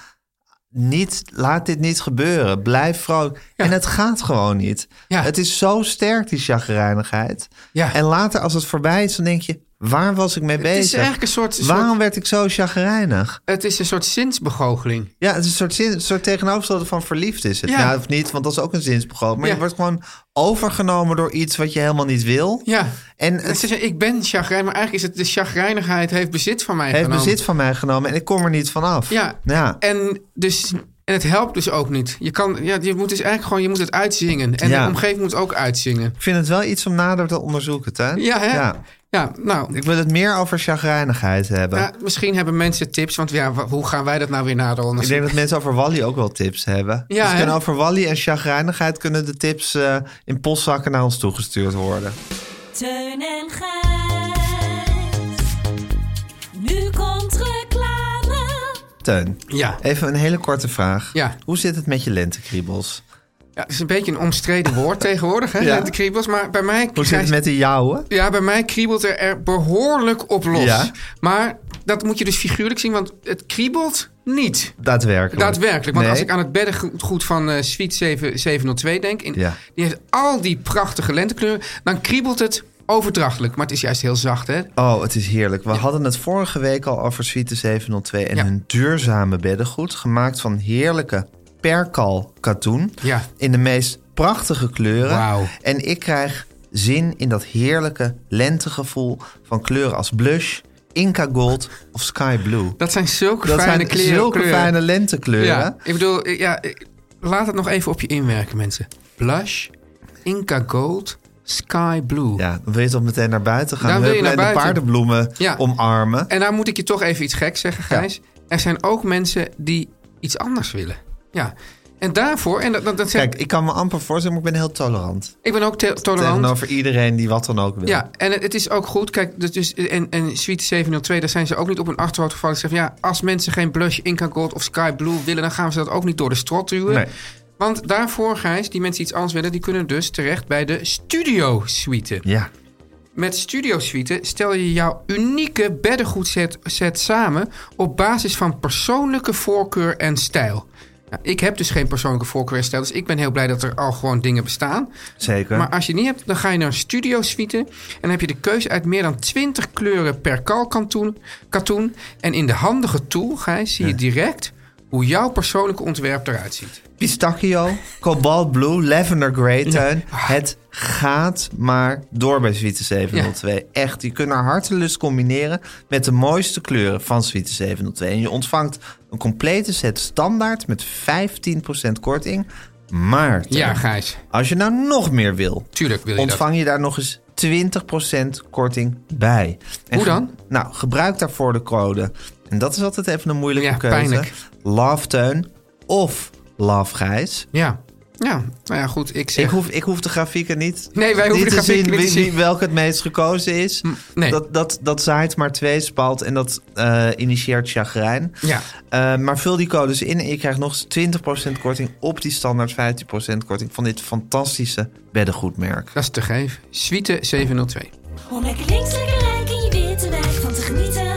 Niet, laat dit niet gebeuren. Blijf vrolijk. En het gaat gewoon niet. Ja. Het is zo sterk, die chagrijnigheid. Ja. En later, als het voorbij is, dan denk je... Waar was ik mee Het bezig? is eigenlijk een soort, soort- Waarom werd ik zo chagrijnig? het is een soort zinsbegoocheling. Ja, het is een soort, zin, een soort tegenovergestelde van verliefd is het. Ja. Ja. of niet, want dat is ook een zinsbegroting. Maar Ja. je wordt gewoon overgenomen door iets wat je helemaal niet wil. Ja. En Het het is, ik ben chagrijn, maar eigenlijk is het de chagrijnigheid heeft bezit van mij heeft genomen. bezit van mij genomen en ik kom er niet vanaf. Ja. ja. En dus... En het helpt dus ook niet. Je, kan, ja, je moet dus eigenlijk gewoon je moet het uitzingen. En Ja. de omgeving moet ook uitzingen. Ik vind het wel iets om nader te onderzoeken, hè? Ja, hè? Ja. Ja, nou, Ik wil het meer over chagrijnigheid hebben. ja, misschien hebben mensen tips. Want ja, wa- hoe gaan wij dat nou weer nader Ik onderzoeken? denk dat mensen over Wally ook wel tips hebben. Ja, dus hè? kunnen over Wally en chagrijnigheid kunnen de tips eh, in postzakken naar ons toegestuurd worden. Teun en Gijs. Nu komt reclame. Teun, Ja. even een hele korte vraag. Ja. Hoe zit het met je lentekriebels? ja, het is een beetje een omstreden woord tegenwoordig, hè, Ja. de kriebels. Maar bij mij, Hoe zit het met de jouwe? ja, bij mij kriebelt er, er behoorlijk op los. Ja. Maar dat moet je dus figuurlijk zien, want het kriebelt niet. Daadwerkelijk. Daadwerkelijk. Want Nee. als ik aan het beddengoed van eh Suite 7, 702 denk, in, Ja. die heeft al die prachtige lentekleuren, dan kriebelt het overdrachtelijk. Maar het is juist heel zacht, hè? Oh, het is heerlijk. We hadden het vorige week al over Suite 702 en Ja. hun duurzame beddengoed. Gemaakt van heerlijke perkal katoen. Ja. In de meest prachtige kleuren. Wauw. En ik krijg zin in dat heerlijke lentegevoel van kleuren als blush, Inca Gold of Sky Blue. Dat zijn zulke Dat fijne zijn kleren. zulke kleuren. fijne lentekleuren. Ja, ik bedoel, eh, ja, eh, laat het nog even op je inwerken, mensen. Blush, Inca Gold, Sky Blue. Ja, dan wil je toch meteen naar buiten gaan. Dan wil je Huppelen naar en buiten. de paardenbloemen Ja. omarmen. En daar moet ik je toch even iets geks zeggen, Gijs. Er zijn ook mensen die iets anders willen. Ja. En daarvoor, en dat, dat, dat zeg- Kijk, ik kan me amper voorstellen, maar ik ben heel tolerant. ik ben ook te- tolerant. Tegenover iedereen die wat dan ook wil. Ja, en het, het is ook goed. Kijk, dus, dus, en, en Suite 702, daar zijn ze ook niet op hun achterhoofd gevallen. Ze zeggen, ja, als mensen geen Blush, Inca Gold of Sky Blue willen... dan gaan ze dat ook niet door de strot duwen. Nee. Want daarvoor, Gijs, die mensen iets anders willen... die kunnen dus terecht bij de Studio Suite. Ja. Met Studio Suite stel je jouw unieke beddengoedset set samen op basis van persoonlijke voorkeur en stijl. Nou, ik heb dus geen persoonlijke voorkeur en stijl, dus ik ben heel blij dat er al gewoon dingen bestaan. Zeker. Maar als je die niet hebt, dan ga je naar een Studio Suite en dan heb je de keuze uit meer dan 20 kleuren per kalkkantoen. Katoen. En in de handige tool, Gijs, zie je direct hoe jouw persoonlijke ontwerp eruit ziet. Pistachio, Cobalt Blue, Lavender Grey tuin. Het gaat maar door bij Suite 702. Echt, je kunt naar hartelust combineren met de mooiste kleuren van Suite 702. En je ontvangt een complete set standaard met 15% korting. Maar Teun, Ja, Gijs, als je nou nog meer wil, tuurlijk wil je dat. ontvang je daar nog eens 20% korting bij. En Hoe dan? ge- nou, gebruik daarvoor de code. En dat is altijd even een moeilijke Ja, keuze. pijnlijk. Love Teun of Love Gijs. Ja. ja, nou ja, goed, ik zeg... Ik hoef, ik hoef de grafieken niet, Nee, wij hoeven niet de te zien grafieken niet te wie- zien. welke het meest gekozen is. nee. Dat, dat, dat zaait maar twee spalt en dat eh, initieert chagrijn. Ja. Eh, maar vul die codes in en je krijgt nog eens 20% korting op die standaard 15% korting van dit fantastische beddengoedmerk. Dat is te geven. Suite 702. Om lekker links, lekker rijk in je witte wijk van te genieten.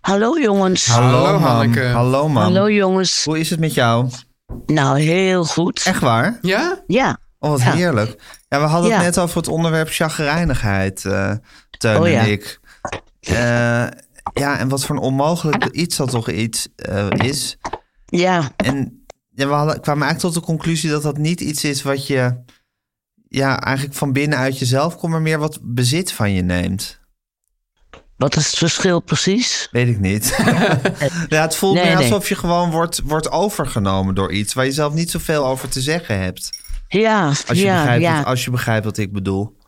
Hallo jongens. Hallo, mam. Hanneke. Hallo mam. Hallo jongens. Hoe is het met jou? Nou, heel goed. Echt waar? Ja? Ja. Oh, wat Ja. heerlijk. Ja, we hadden het Ja. net over het onderwerp chagrijnigheid, eh Teun Oh, en ja. ik. Eh, ja, en wat voor een onmogelijk iets dat toch iets eh, is. Ja. En ja, we hadden, kwamen eigenlijk tot de conclusie dat dat niet iets is wat je ja, eigenlijk van binnen uit jezelf komt, maar meer wat bezit van je neemt. Wat is het verschil precies? Weet ik niet. ja, het voelt Nee, meer nee. alsof je gewoon wordt, wordt overgenomen door iets waar je zelf niet zoveel over te zeggen hebt. Ja. Als je, ja, begrijpt, ja. wat, als je begrijpt wat ik bedoel.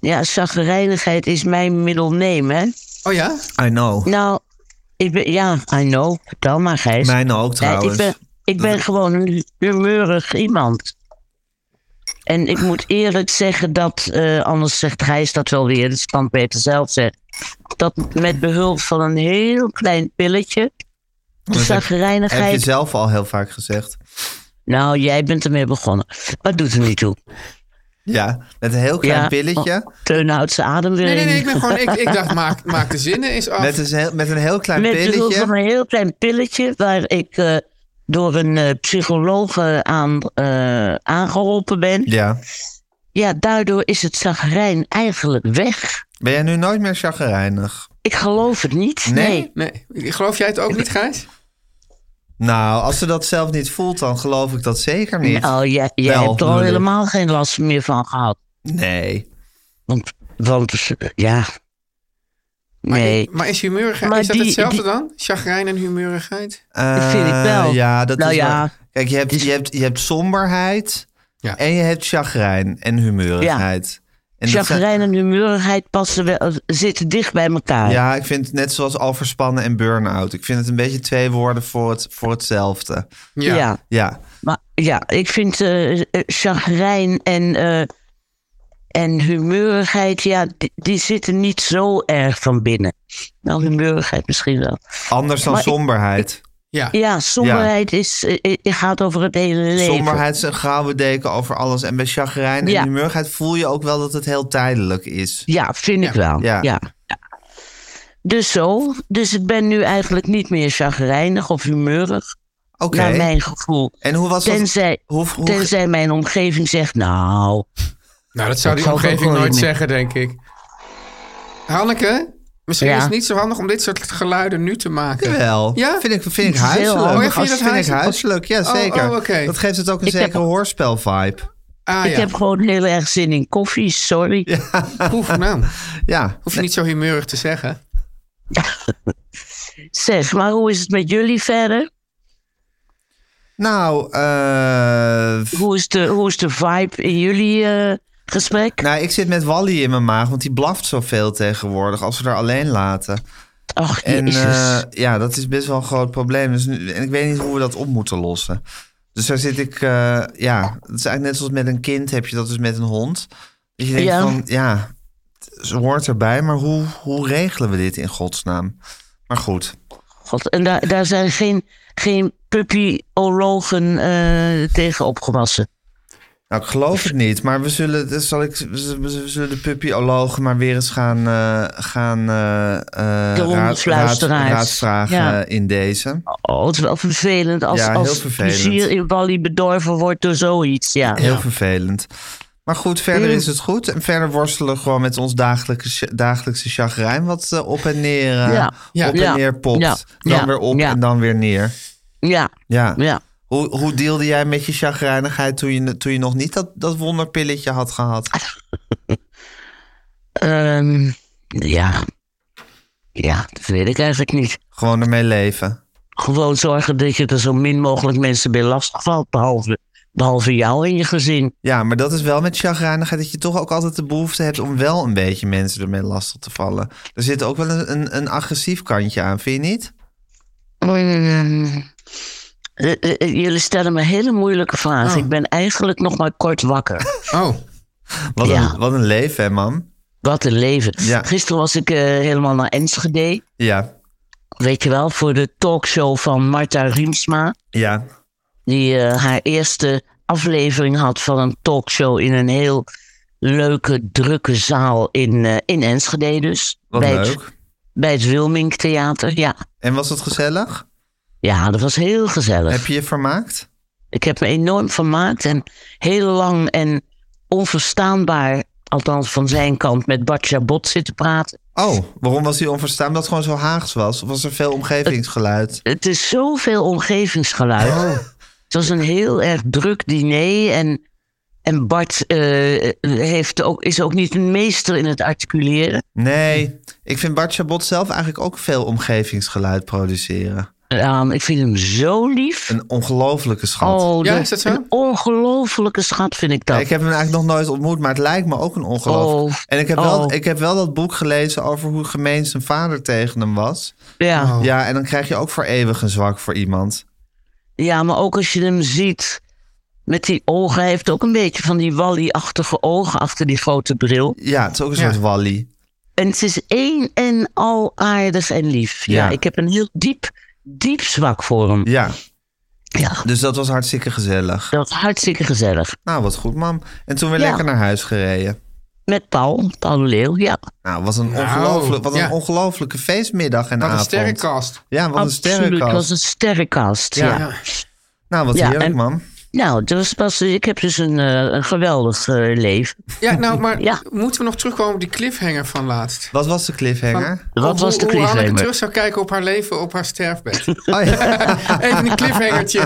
Ja, chagrijnigheid is mijn middelneem, hè? Oh ja? I know. Nou, ik ben... Ja, I know. Vertel maar, Gijs. Mijn ook Ja, trouwens. ik ben, ik ben gewoon een humeurig iemand. En ik moet eerlijk zeggen dat, eh, anders zegt Gijs dat wel weer, dat kan Peter zelf zeggen, dat met behulp van een heel klein pilletje, de Dat heb- Heb je chagrijnigheid... zelf al heel vaak gezegd. Nou, jij bent ermee begonnen. Wat doet er niet toe? Ja, met een heel klein pilletje. Oh, Teun houdt zijn adem weer Nee, nee, nee. Ik, in. ben gewoon, ik, ik dacht, maak, maak de zinnen eens af. Met een, heel- met een heel klein Oh. Met behulp van pilletje. een heel klein pilletje waar ik eh, door een eh, psycholoog eh, aan, eh, aangeholpen ben. Ja. Ja, daardoor is het zagrijn eigenlijk weg. Ben jij nu nooit meer chagrijnig? Ik geloof het niet. Nee? Nee. Nee, geloof jij het ook niet, Gijs? Nou, als ze dat zelf niet voelt, dan geloof ik dat zeker niet. Nou, jij, jij Wel, hebt er al bedoel ik. helemaal geen last meer van gehad. Nee. Want, want ja. Nee. Maar is humeurigheid, Maar is dat die- hetzelfde die- dan? Chagrijn en humeurigheid? Eh, vind ik wel. Ja, dat Nou is ja. wel- Kijk, je hebt, je, hebt, je hebt somberheid Ja. en je hebt chagrijn en humeurigheid. En dat zijn- Chagrijn en humeurigheid passen wel, zitten dicht bij elkaar. Ja, ik vind het net zoals overspannen en burn-out. Ik vind het een beetje twee woorden voor, het, voor hetzelfde. ja. Ja, Maar ja, ik vind eh eh, chagrijn en, eh, en humeurigheid, ja, die, die zitten niet zo erg van binnen. Nou, humeurigheid misschien wel. anders dan Maar ik- somberheid. Ja. Ja, somberheid Is, eh, eh, gaat over het hele leven. Somberheid is een gouden deken over alles. En bij chagrijn en Ja. humeurigheid voel je ook wel dat het heel tijdelijk is. Ja, vind ik Ja. wel. Ja. Ja. Ja. Dus zo. Dus ik ben nu eigenlijk niet meer chagrijnig of humeurig. Oké. Naar mijn gevoel. En hoe was dat? Tenzij, Hoe, hoe, tenzij mijn omgeving zegt, nou, Nou, dat zou die Dat zal ik ook omgeving wel nooit niet. zeggen, denk ik. Hanneke, misschien Ja. is het niet zo handig om dit soort geluiden nu te maken. Jawel. Ja? Vind ik, vind ik is heel huiselijk. handig. Oh, ja, vind je dat vind ik huiselijk? huiselijk, ja Oh, zeker. oh, oké. Dat geeft het ook een Ik heb- zekere hoorspel-vibe. Ah, ik ja. heb gewoon heel erg zin in koffie, sorry. Proef nou. Ja. Hoef je niet zo humeurig te zeggen. Zeg, maar hoe is het met jullie verder? Nou, eh, Hoe is de, hoe is de vibe in jullie eh, gesprek? nou, ik zit met Wally in mijn maag, want die blaft zoveel tegenwoordig als we haar alleen laten. Ach, En jezus. eh, ja, dat is best wel een groot probleem. Dus nu, en ik weet niet hoe we dat op moeten lossen. Dus daar zit ik, eh, ja, het is eigenlijk net zoals met een kind heb je dat dus met een hond. Dat je denkt Ja. van, ja, ze hoort erbij, maar hoe, hoe regelen we dit in godsnaam? Maar goed, God, en daar, daar zijn geen, geen puppyologen eh, tegen opgewassen. nou ik geloof het niet, maar we zullen, dus zal ik, we zullen- we zullen de puppyologen maar weer eens gaan, eh, gaan eh, eh, De hondensluisteraars. raadsvragen Ja. in deze. Oh, het is wel vervelend als, Ja, heel als vervelend. plezier in Bali bedorven wordt door zoiets. Ja. Heel vervelend. Maar goed, verder Mm. is het goed. En verder worstelen we gewoon met ons dagelijkse, dagelijkse chagrijn... wat eh, op en neer, eh, Ja. Ja. Op en Ja. neer popt. Ja. Dan Ja. weer op Ja. en dan weer neer. ja, Ja. ja. Hoe, hoe deelde jij met je chagrijnigheid... toen je, toen je nog niet dat, dat wonderpilletje had gehad? Ehm, ja. Ja, dat weet ik eigenlijk niet. Gewoon ermee leven. Gewoon zorgen dat je er zo min mogelijk mensen bij lastig valt, behalve, behalve jou en je gezin. Ja, maar dat is wel met chagrijnigheid... dat je toch ook altijd de behoefte hebt... om wel een beetje mensen ermee lastig te vallen. Er zit ook wel een, een, een agressief kantje aan, vind je niet? Ehm, eh, eh, eh, Jullie stellen me hele moeilijke vragen. Oh. Ik ben eigenlijk nog maar kort wakker. Oh, Wat, Ja. een, wat een leven, hè, mam? Wat een leven. Ja. Gisteren was ik eh, helemaal naar Enschede. Ja, Weet je wel, voor de talkshow van Marta Riemsma. ja. Die eh, haar eerste aflevering had van een talkshow in een heel leuke, drukke zaal in, eh, in Enschede dus. Wat bij Het, leuk. bij het Wilming Theater, ja. En was het gezellig? Ja, dat was heel gezellig. Heb je je vermaakt? Ik heb me enorm vermaakt en heel lang en onverstaanbaar, althans van zijn kant, met Bart Jabot zitten praten. Oh, waarom was hij onverstaan? Omdat het gewoon zo Haags was? Of was er veel omgevingsgeluid? Het is zoveel omgevingsgeluid. Oh. Het was een heel erg druk diner en, en Bart eh, heeft ook, is ook niet een meester in het articuleren. Nee, ik vind Bart Chabot zelf eigenlijk ook veel omgevingsgeluid produceren. Ja, Ehm, ik vind hem zo lief. Een ongelofelijke schat. Oh, Ja, dat- is dat zo? Een ongelofelijke schat vind ik dat. Ik heb hem eigenlijk nog nooit ontmoet, maar het lijkt me ook een ongeloof. Oh. En ik heb, wel, Oh. ik heb wel dat boek gelezen over hoe gemeen zijn vader tegen hem was. ja. Ja, en dan krijg je ook voor eeuwig een zwak voor iemand. Ja, maar ook als je hem ziet met die ogen. Hij heeft ook een beetje van die Wally-achtige ogen achter die grote bril. Ja, het is ook een Ja. soort Wally. En het is één en al aardig en lief. Ja, Ja. ik heb een heel diep, diep zwak voor hem. Ja, Ja, dus dat was hartstikke gezellig. dat is hartstikke gezellig. Nou, wat goed, mam. En toen weer Ja. lekker naar huis gereden. Met Paul, Paul de Leeuw, ja. Nou, wat een, Nou, ongelooflijk, wat ja. een ongelofelijke feestmiddag en wat een avond. sterrenkast. Ja, wat een Absoluut, het sterrenkast. was een sterrenkast. Ja. Ja. Nou, wat Ja, heerlijk, en- man. Nou, dat was pas, ik heb dus een, eh, een geweldig eh, leven. Ja, nou, maar Ja. moeten we nog terugkomen op die cliffhanger van laatst? Wat was de cliffhanger? Wat Of was hoe- Hoe de Hanneke cliffhanger? terug zou kijken op haar leven op haar sterfbed. Oh, ja. Even een cliffhangertje.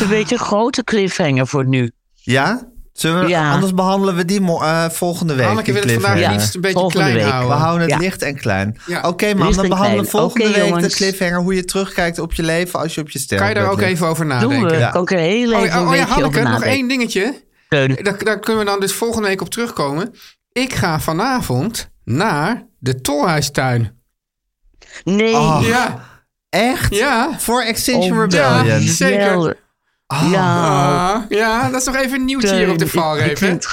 Een beetje een grote cliffhanger voor nu. ja? Zullen we, Ja. Anders behandelen we die mo- eh, volgende week. Hanneke die wil het vandaag cliffhanger. liefst een beetje Volgende klein week. We houden. houden het Ja. licht en klein. Ja. Oké, man, Liefst dan en behandelen we klein. volgende Oké, week de jongens. cliffhanger. Hoe je terugkijkt op je leven als je op je Kan sterfbed je daar ook ligt. even over Doen we. nadenken? Kan ik er heel Oh, even ja, eh, een oh ja, beetje Hanneke, over nog nadenken. één dingetje. Teun. Daar, daar kunnen we dan dus volgende week op terugkomen. Ik ga vanavond naar de Tolhuistuin. Nee. Oh, Ja, Echt? ja. Voor Extinction Oh, Rebellion. ja. zeker. wel. Ja, Ah, ja, dat is nog even een nieuwtje hier op de Teun, ik- Ik valreep. hè? vind het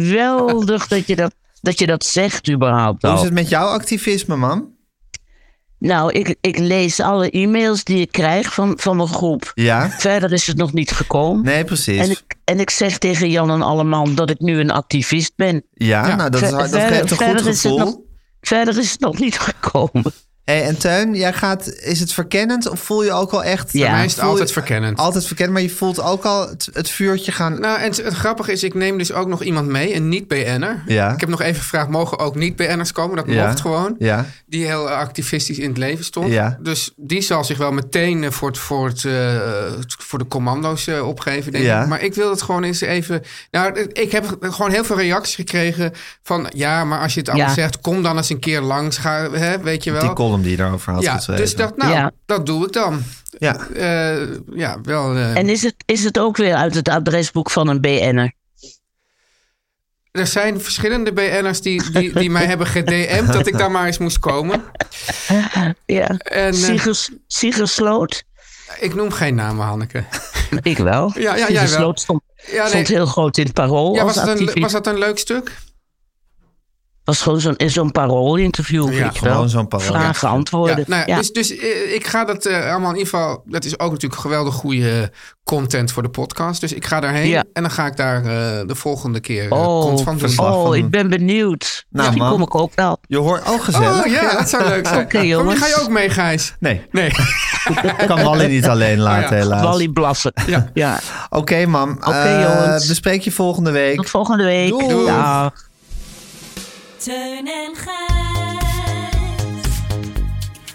geweldig dat je dat, dat je dat zegt überhaupt Hoe is al. het met jouw activisme, man? Nou, ik, ik lees alle e-mails die ik krijg van, van mijn groep. Ja? Verder is het nog niet gekomen. Nee, precies. En ik, en ik zeg tegen Jan en Alleman dat ik nu een activist ben. Ja, nou, dat, is, Ver- hard- dat verder- geeft een verder goed is het gevoel. nog- Verder is het nog niet gekomen. Hey, en Teun, jij gaat, is het verkennend of voel je ook al echt... Bij mij is het voel je- altijd verkennend. Altijd verkennend, maar je voelt ook al het, het vuurtje gaan... Nou, en het, het grappige is, ik neem dus ook nog iemand mee, een niet-BN'er. Ja. Ik heb nog even gevraagd, mogen ook niet-BN'ers komen? Dat Ja. mocht gewoon. Ja. Die heel eh, activistisch in het leven stond. Ja. Dus die zal zich wel meteen eh, voor, het, voor, het, eh, het- voor de commando's eh, opgeven, denk Ja. ik. Maar ik wil het gewoon eens even... Nou, ik heb gewoon heel veel reacties gekregen van... Ja, maar als je het allemaal Ja. zegt, kom dan eens een keer langs. Ga, hè, weet je wel. Die column die je daarover had ja, geschreven. dus dat, nou, Ja. dat doe ik dan. Ja. Eh, ja, wel... eh, En is het, is het ook weer uit het adresboek van een BN'er? Er zijn verschillende BN'ers die, die, die mij hebben gedM'd dat ik daar maar eens moest komen. Ja. En, eh, Sigers, Sigers Sloot? Ik noem geen namen, Hanneke. Ik wel. Ja, ja, jij Sigers wel. Sloot stond, Ja, nee. stond heel groot in het parool Ja, was, als dat activist. een, was dat een leuk stuk? was gewoon zo'n in zo'n paroolinterview. Ja, weet je wel. gewoon zo'n parool. Vragen, Ja, antwoorden. Ja, nou ja, Dus, dus eh, ik ga dat eh, allemaal in ieder geval... Dat is ook natuurlijk geweldig goede eh, content voor de podcast. Dus ik ga daarheen Ja. en dan ga ik daar eh, de volgende keer eh, oh, kont van doen. verslag van- oh Nou, ik ben benieuwd. Misschien man. kom ik ook wel. Je hoort ook gezellig. Oh ja, dat zou leuk zijn. Oké, Kom, die jongens. ga je ook mee, Gijs? Nee, Nee. ik kan Wally niet alleen laten, Oh ja, helaas. Wally blassen. Ja. ja. Oké, mam. Eh, jongens. We spreken je volgende week. Tot volgende week. Doei. Dag. Teun en Gijs.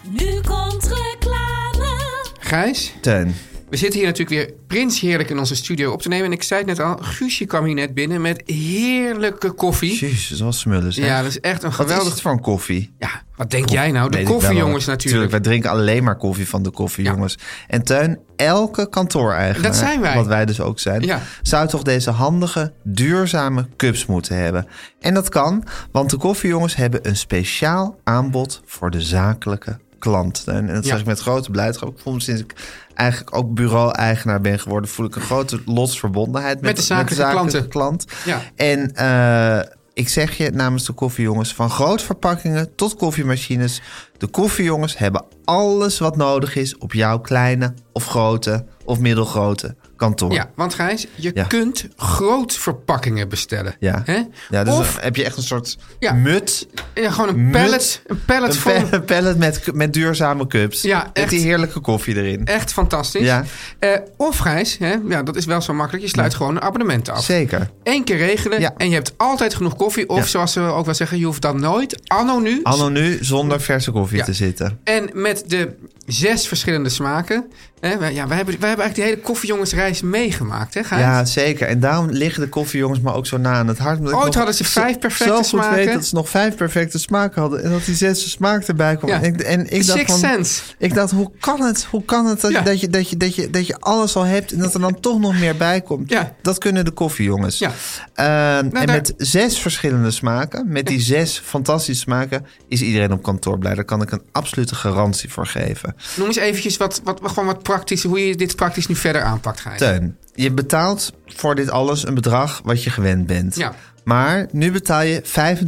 Nu komt reclame. Gijs? Teun. We zitten hier natuurlijk weer prins heerlijk in onze studio op te nemen. En ik zei het net al, Guusje kwam hier net binnen met heerlijke koffie. Jezus, wat smullen zeg. Ja, dat is echt een Wat is geweldig... het voor een koffie? Ja, wat denk jij nou? De Weet ik wel, koffie, maar- jongens, natuurlijk. Tuurlijk, wij drinken alleen maar koffie van de koffie, jongens. En Teun, elke kantoor-eigenaar, Dat zijn wij. wat wij dus ook zijn, Ja. zou toch deze handige, duurzame cups moeten hebben. En dat kan, want de koffiejongens hebben een speciaal aanbod voor de zakelijke klant. Teun. En dat Ja. zeg ik met grote blijdschap. Ik voel me sinds ik eigenlijk ook bureau-eigenaar ben geworden, voel ik een grote lotsverbondenheid met, Met de zakelijke klanten. klant. Ja. En eh, ik zeg je namens de koffiejongens, van grootverpakkingen tot koffiemachines. De koffiejongens hebben alles wat nodig is op jouw kleine of grote of middelgrote kantoor. Ja, want Gijs, je Ja. kunt grootverpakkingen bestellen. Ja. Hè? Ja, dus of dan heb je echt een soort Ja. mut. ja, gewoon een mut, pallet, een pallet een vol. pa- pallet met, met duurzame cups. Ja, Met echt. die heerlijke koffie erin. Echt fantastisch. Ja. Eh, of Gijs, hè? Ja, dat is wel zo makkelijk, je sluit gewoon een abonnement af. Zeker. Eén keer regelen Ja. en je hebt altijd genoeg koffie. Of Ja. zoals ze ook wel zeggen, je hoeft dan nooit. Anno nu, Anno nu zonder verse koffie Ja. te zitten. En met de zes verschillende smaken. Hè, wij, ja, wij, hebben, wij hebben eigenlijk die hele koffiejongensreis meegemaakt, hè, Gijs? Ja, zeker. En daarom liggen de koffiejongens maar ook zo na aan het hart. omdat ik Ooit nog hadden ze vijf perfecte zo goed smaken. weet dat ze nog vijf perfecte smaken hadden. En dat die zesde smaak erbij kwam. Ja. En, ik- en ik dacht Six van... Sense. Ik dacht, hoe kan het? Hoe kan het dat, Ja. dat, je, dat, je, dat, je, dat je alles al hebt en dat er dan toch nog meer bij komt? Ja. Dat kunnen de koffiejongens. Ja. Nou, Ehm, en daar- met zes verschillende smaken, met die zes fantastische smaken, is iedereen op kantoor blij. Daar kan ik een absolute garantie voor geven. Noem eens eventjes wat, wat, gewoon wat praktisch, hoe je dit praktisch nu verder aanpakt, Gijs. Teun, je betaalt voor dit alles een bedrag wat je gewend bent. Ja. Maar nu betaal je 25%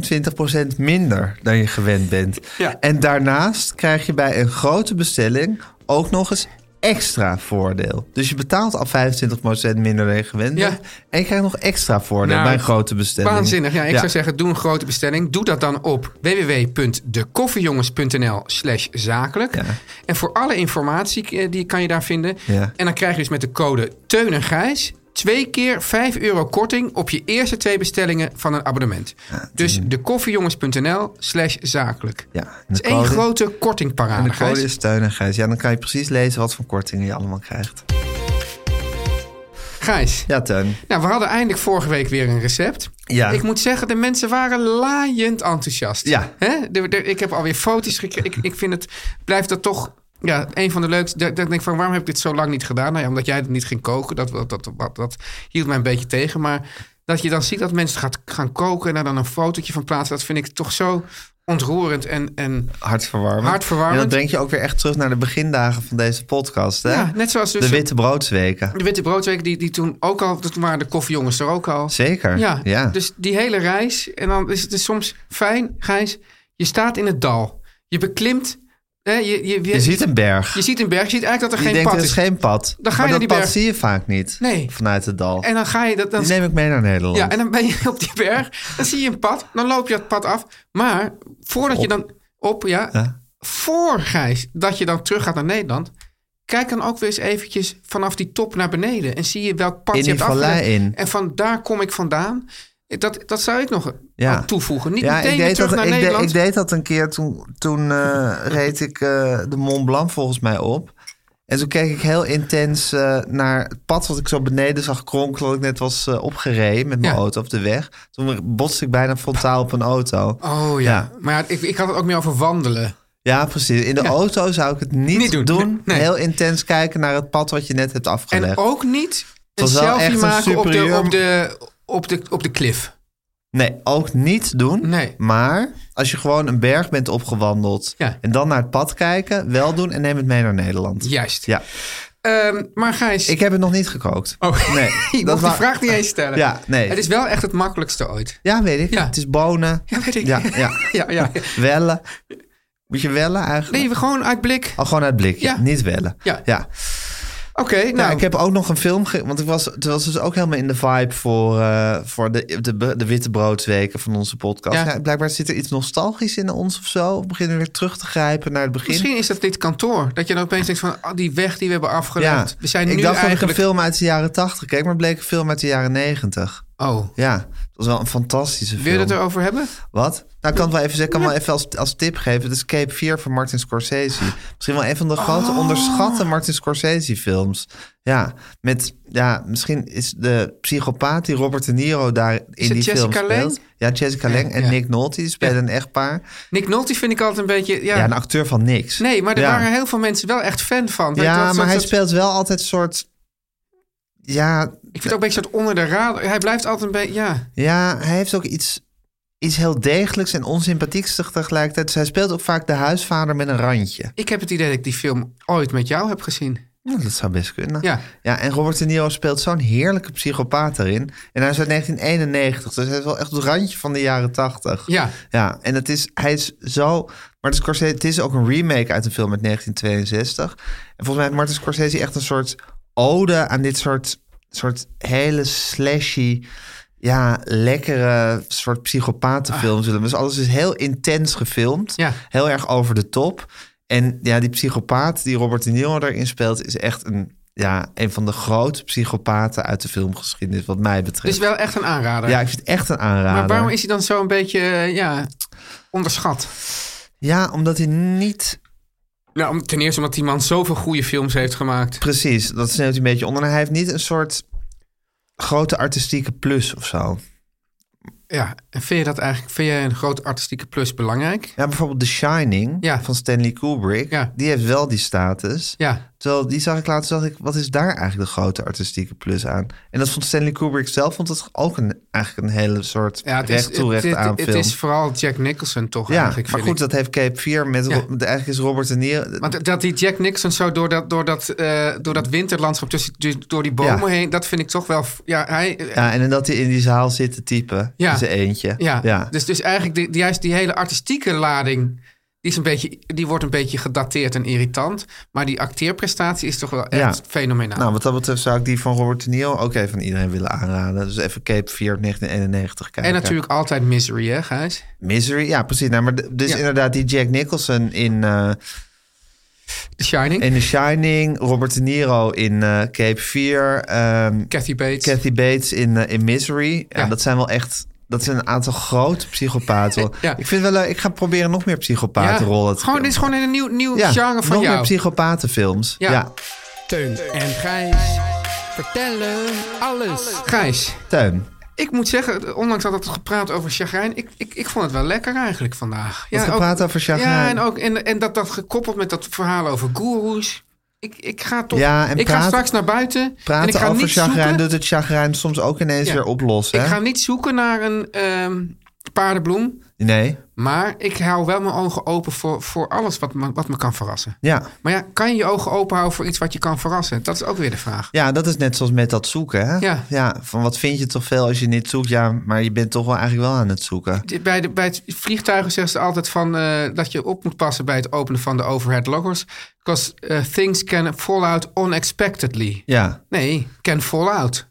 minder dan je gewend bent. Ja. En daarnaast krijg je bij een grote bestelling ook nog eens extra voordeel. Dus je betaalt al 25% minder dan je gewend Ja. bent. En je krijgt nog extra voordeel Nou, bij een grote bestelling. Waanzinnig. Ja, ik zou zeggen, doe een grote bestelling. Doe dat dan op www.dekoffiejongens.nl slash zakelijk. Ja. En voor alle informatie eh, die kan je daar vinden. Ja. En dan krijg je dus met de code Teun en Gijs... Twee keer 5 euro korting op je eerste twee bestellingen van een abonnement. dus dekoffiejongens.nl slash zakelijk. Ja, en Het is de één code- grote En de kortingparade, code Gijs. is steun en Gijs. Ja, dan kan je precies lezen wat voor kortingen je allemaal krijgt. Gijs, Ja, Teun. nou, we hadden eindelijk vorige week weer een recept. Ja. Ik moet zeggen, de mensen waren laaiend enthousiast. Ja. Hè? De- de- ik heb alweer foto's gekregen. Ik, ik vind het, blijft dat toch ja, een van de leukste. Dat, dat ik denk van, waarom heb ik dit zo lang niet gedaan? Nou ja, omdat jij het niet ging koken. Dat, dat, dat, dat, dat hield mij een beetje tegen. Maar dat je dan ziet dat mensen gaat, gaan koken en daar dan een fotootje van plaatsen. Dat vind ik toch zo ontroerend. En, en Hartverwarmend. Hartverwarmend. En dat brengt je ook weer echt terug naar de begindagen van deze podcast. Hè? ja, net zoals dus de witte broodsweken. de Witte Broodweek, die, die toen ook al, toen waren de koffiejongens er ook al. Zeker. Ja, Ja. dus die hele reis. En dan is het dus soms fijn, Gijs. Je staat in het dal. Je beklimt. Hè, je, je, je ziet een berg. je ziet een berg. Je ziet eigenlijk dat er je geen denkt, pad er is. is geen pad. Dan ga maar je naar dat die pad berg. zie je vaak niet. Nee. Vanuit het dal. En dan ga je dat. Dan, Die neem ik mee naar Nederland. ja, en dan ben je op die berg. Dan zie je een pad. Dan loop je het pad af. Maar voordat je dan op. Ja, Ja. voor Gijs dat je dan terug gaat naar Nederland. Kijk dan ook weer eens eventjes vanaf die top naar beneden. En zie je welk pad In je die hebt vallei afgelegd. in. En van daar kom ik vandaan. Dat, dat zou ik nog Ja. aan toevoegen. Niet meteen ik weer deed, terug dat, naar ik, deed- Nederland. ik deed dat een keer toen, toen eh, reed ik eh, de Mont Blanc volgens mij op. En toen keek ik heel intens eh, naar het pad wat ik zo beneden zag kronkelen. Dat ik net was eh, opgereden met mijn Ja. auto op de weg. Toen botste ik bijna frontaal op een auto. Oh ja. Ja. Maar ja, ik, ik had het ook meer over wandelen. Ja, precies. In de Ja. auto zou ik het niet, Niet doen. doen. Nee. Heel intens kijken naar het pad wat je net hebt afgelegd. En ook niet een was wel echt selfie een maken op de, superieur- op, de, op, de, op de cliff. Nee, ook niet doen. Nee. Maar als je gewoon een berg bent opgewandeld Ja. en dan naar het pad kijken, wel doen en neem het mee naar Nederland. Juist. Ja. Ehm, maar Gijs, Ik heb het nog niet gekookt. Oh. nee. dat je mocht die wa- vraag niet eens stellen. Ja, nee. Het is wel echt het makkelijkste ooit. Ja, weet ik. Ja. Het is bonen. Ja, weet ik. Ja, ja. ja, ja. Wellen. Moet je wellen eigenlijk? Nee, we gewoon uit blik. Al gewoon uit blik. Ja. Niet wellen. Ja. ja. Oké, nou. Nou, ik heb ook nog een film. ge- Want ik was, het was dus ook helemaal in de vibe voor, eh, voor de, de, de witte broodsweken van onze podcast. Ja. Ja. blijkbaar zit er iets nostalgisch in ons of zo. We beginnen weer terug te grijpen naar het begin. Misschien is dat dit kantoor. Dat je dan opeens denkt van ah, die weg die we hebben afgelegd. We zijn ik nu dacht dat eigenlijk... ik een film uit de jaren 80 keek, maar het bleek een film uit de jaren 90. Oh, Ja, het was wel een fantastische film. wil je het erover hebben? Wat? Nou, ik kan het wel even zeggen, ik kan wel even als, als tip geven. Het is Cape 4 van Martin Scorsese. Misschien wel een van de Oh. grote onderschatte Martin Scorsese films. Ja, met, ja, misschien is de psychopaat die Robert De Niro daar in het die film Jessica Lange? speelt. Ja, Jessica Ja, Lange en ja. Nick Nolte, die spelen een echtpaar. Nick Nolte vind ik altijd een beetje... Ja, Ja. een acteur van niks. nee, maar er Ja. waren heel veel mensen wel echt fan van. Dat- dat- Ja, dat- maar hij dat- speelt wel altijd een soort... Ja, Ik vind het ook een beetje soort onder de radar. Hij blijft altijd een beetje... Ja, Ja, hij heeft ook iets, iets heel degelijks en onsympathieks tegelijkertijd. Dus hij speelt ook vaak de huisvader met een randje. ik heb het idee dat ik die film ooit met jou heb gezien. Nou, dat zou best kunnen. Ja. en Robert De Niro speelt zo'n heerlijke psychopaat erin. En hij is uit 1991, dus hij is wel echt op het randje van de jaren 80. Ja. Ja, en het is, hij is zo... Martin Scorsese, het is ook een remake uit een film uit 1962. En volgens mij heeft Martin Scorsese echt een soort ode aan dit soort, soort hele slashy... Ja, lekkere soort psychopatenfilms. Dus alles is heel intens gefilmd. Ah. Ja. Heel erg over de top. En ja, die psychopaat die Robert De Niro daarin speelt... is echt een, ja, een van de grote psychopaten uit de filmgeschiedenis... wat mij Dus betreft. wel echt een aanrader. Ja, ik vind het echt een aanrader. Maar waarom is hij dan zo een beetje eh, ja, onderschat? Ja, omdat hij niet Nou, om- ten eerste omdat die man zoveel goede films heeft gemaakt. Precies, dat sneeuwt hij een beetje onder. En hij heeft niet een soort grote artistieke plus of zo. Ja, en vind je dat eigenlijk, vind jij een groot artistieke plus belangrijk? Ja, bijvoorbeeld The Shining Ja. van Stanley Kubrick. Ja. Die heeft wel die status. Ja, Terwijl die zag ik laatst, dacht ik, wat is daar eigenlijk de grote artistieke plus aan? En dat vond Stanley Kubrick zelf, vond dat ook een, eigenlijk een hele soort ja recht toe, recht het, aan het film. is vooral Jack Nicholson toch ja, eigenlijk. maar vind goed, ik. dat heeft Cape 4 met... Ja. Ro- Eigenlijk is Robert De Niro... Maar d- dat die Jack Nicholson zo door dat, door dat, eh, door dat winterlandschap tussen dus door die bomen Ja. heen, dat vind ik toch wel. f- Ja, hij, eh, ja. Ja, en dat hij in die zaal zit te typen, Ja. in zijn eentje. Dus, dus eigenlijk die, die- juist die hele artistieke lading, die, is een beetje, die wordt een beetje gedateerd en irritant. Maar die acteerprestatie is toch wel echt Ja. fenomenaal. Nou, wat dat betreft zou ik die van Robert De Niro ook even aan iedereen willen aanraden. Dus even Cape 4 uit 1991 kijken. en natuurlijk altijd Misery, hè, Gijs? Misery, ja precies. Nou, maar d- dus Ja. inderdaad die Jack Nicholson in, eh, The Shining, in The Shining. Robert De Niro in eh, Cape 4. ehm Kathy Bates. Kathy Bates in, eh, in Misery. Ja, Ja. dat zijn wel echt... Dat zijn een aantal grote psychopaten. Ja. Ik vind wel leuk. Ik ga proberen nog meer psychopatenrollen te Gewoon, dit is gewoon een nieuw, nieuw Ja, genre van nog jou. meer psychopatenfilms. Ja. Ja. Teun en Gijs vertellen alles. Gijs, Teun, ik moet zeggen, ondanks dat het gepraat over chagrijn... Ik, ik, ik vond het wel lekker eigenlijk vandaag. wat gepraat over chagrijn. Ja, en, ook, en, en dat, dat gekoppeld met dat verhaal over goeroes. Ik, ik ga toch... Ja, en ik ga praat- straks naar buiten en ik Praten ga over niet chagrijn zoeken... doet het chagrijn soms ook ineens Ja. weer oplossen. Ik hè? ga niet zoeken naar een ehm, paardenbloem... Nee, Maar ik hou wel mijn ogen open voor, voor alles wat me, wat me kan verrassen. ja. Maar ja, kan je je ogen open houden voor iets wat je kan verrassen? Dat is ook weer de vraag. Ja, dat is net zoals met dat zoeken. Hè? Ja. van wat vind je toch veel als je niet zoekt? Ja, maar je bent toch wel eigenlijk wel aan het zoeken. Bij, de, bij het vliegtuigen zeggen ze altijd van, eh, dat je op moet passen bij het openen van de overhead loggers. Because eh, things can fall out unexpectedly. Ja, Nee, can fall out.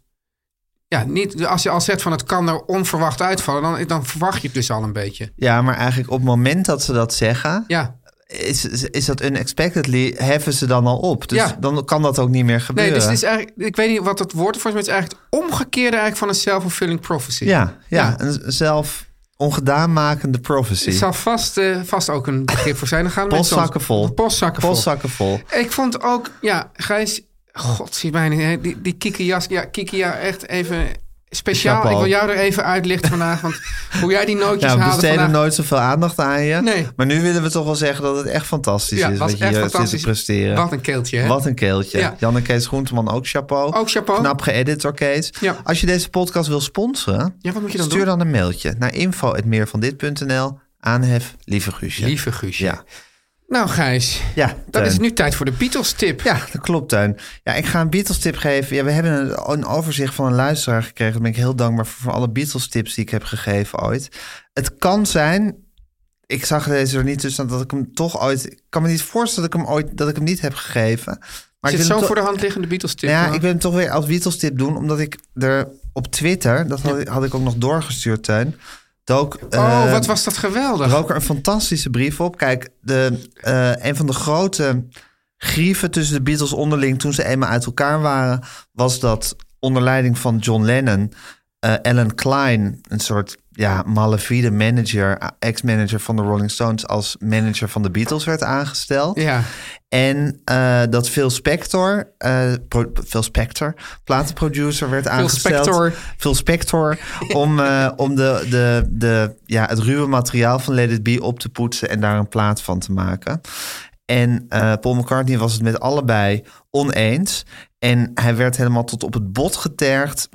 Ja, niet, als je al zegt van het kan er onverwacht uitvallen, dan, dan verwacht je het dus al een beetje. ja maar eigenlijk op het moment dat ze dat zeggen, Ja, is, is, is dat unexpectedly, heffen ze dan al op. Dus Ja. dan kan dat ook niet meer gebeuren. Nee, dus het is eigenlijk, ik weet niet wat het woord ervoor is, maar het is eigenlijk het omgekeerde eigenlijk van een self-fulfilling prophecy. ja, ja, een zelf ongedaanmakende prophecy. Er zal vast, eh, vast ook een begrip voor zijn. Dan gaan we mensen Postzakken ons- vol. Postzakken vol. Postzakken vol. Ik vond ook, ja, Gijs, god, zie mij niet, hè, die, die Kiki jas, ja, Kiki, ja, echt even speciaal. Chapeau. Ik wil jou er even uitlichten vandaag, want hoe jij die nootjes Ja, we haalde besteden vandaag. nooit zoveel aandacht aan je. Nee. Maar nu willen we toch wel zeggen dat het echt fantastisch Ja, is. was wat je echt hier zit fantastisch. te presteren. Wat een keeltje, hè? Wat een keeltje. Ja. Jan en Kees Groenteman ook chapeau. Ook chapeau. Knap geëdit door Kees. Ja. Als je deze podcast wil sponsoren, Ja, wat moet je dan stuur doen? dan een mailtje naar info.meervandit.nl. Aanhef, lieve Guusje. Lieve Guusje. Ja, Nou, Gijs, ja dan Teun. is het nu tijd voor de Beatles-tip. Ja, dat klopt, Tuin. Ja, ik ga een Beatles-tip geven. Ja, we hebben een, een overzicht van een luisteraar gekregen. Daar ben ik heel dankbaar voor, voor alle Beatles-tips die ik heb gegeven ooit. Het kan zijn, ik zag deze er niet tussen, dat ik hem toch ooit... Ik kan me niet voorstellen dat ik hem, ooit, dat ik hem niet heb gegeven. Maar Is ik het wil hem zo toch- voor de hand liggende Beatles-tip? nou ja, maar- ik wil hem toch weer als Beatles-tip doen, omdat ik er op Twitter, dat had, ik- had ik ook nog doorgestuurd, Tuin. Dook, Oh, eh, wat was dat geweldig. er ook een fantastische brief op. Kijk, de, eh, een van de grote grieven tussen de Beatles onderling toen ze eenmaal uit elkaar waren, was dat onder leiding van John Lennon, eh Alan Klein, een soort ja, malafide manager, eh, ex-manager van de Rolling Stones, als manager van de Beatles werd aangesteld. Ja. En eh, dat Phil Spector, eh, pro- Phil Spector, platenproducer, werd aangesteld. Spector. Phil Spector. om eh, om de, de, de, ja, het ruwe materiaal van Let It Be op te poetsen en daar een plaat van te maken. En eh, Paul McCartney was het met allebei oneens. En hij werd helemaal tot op het bot getergd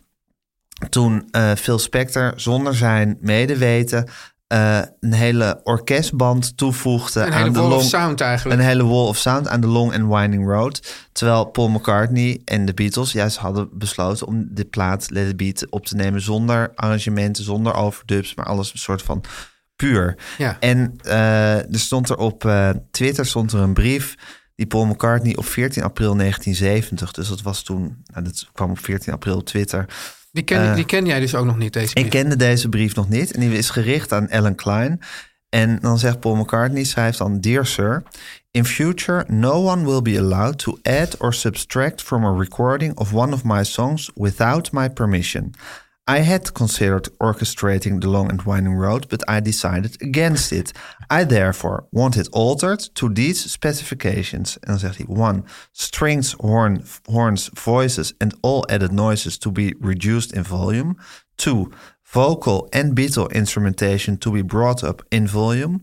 toen eh, Phil Spector zonder zijn medeweten eh, een hele orkestband toevoegde Een aan hele de wall of long- sound eigenlijk. Een hele wall of sound aan de Long and Winding Road. Terwijl Paul McCartney en de Beatles juist hadden besloten om de plaat Let It Be te- op te nemen zonder arrangementen, zonder overdubs, maar alles een soort van puur. Ja. En eh, er stond er op eh, Twitter stond er een brief die Paul McCartney op 14 april 1970, dus dat was toen, nou, dat kwam op 14 april op Twitter. Die ken, die ken jij dus ook nog niet, deze brief. eh, Ik kende deze brief nog niet en die is gericht aan Alan Klein. En dan zegt Paul McCartney, schrijft dan... Dear sir, in future no one will be allowed to add or subtract... from a recording of one of my songs without my permission. I had considered orchestrating the long and winding road... but I decided against it. I therefore want it altered to these specifications. En dan zegt hij... One, strings, horn, horns, voices and all added noises to be reduced in volume. Two, vocal and beatle instrumentation to be brought up in volume.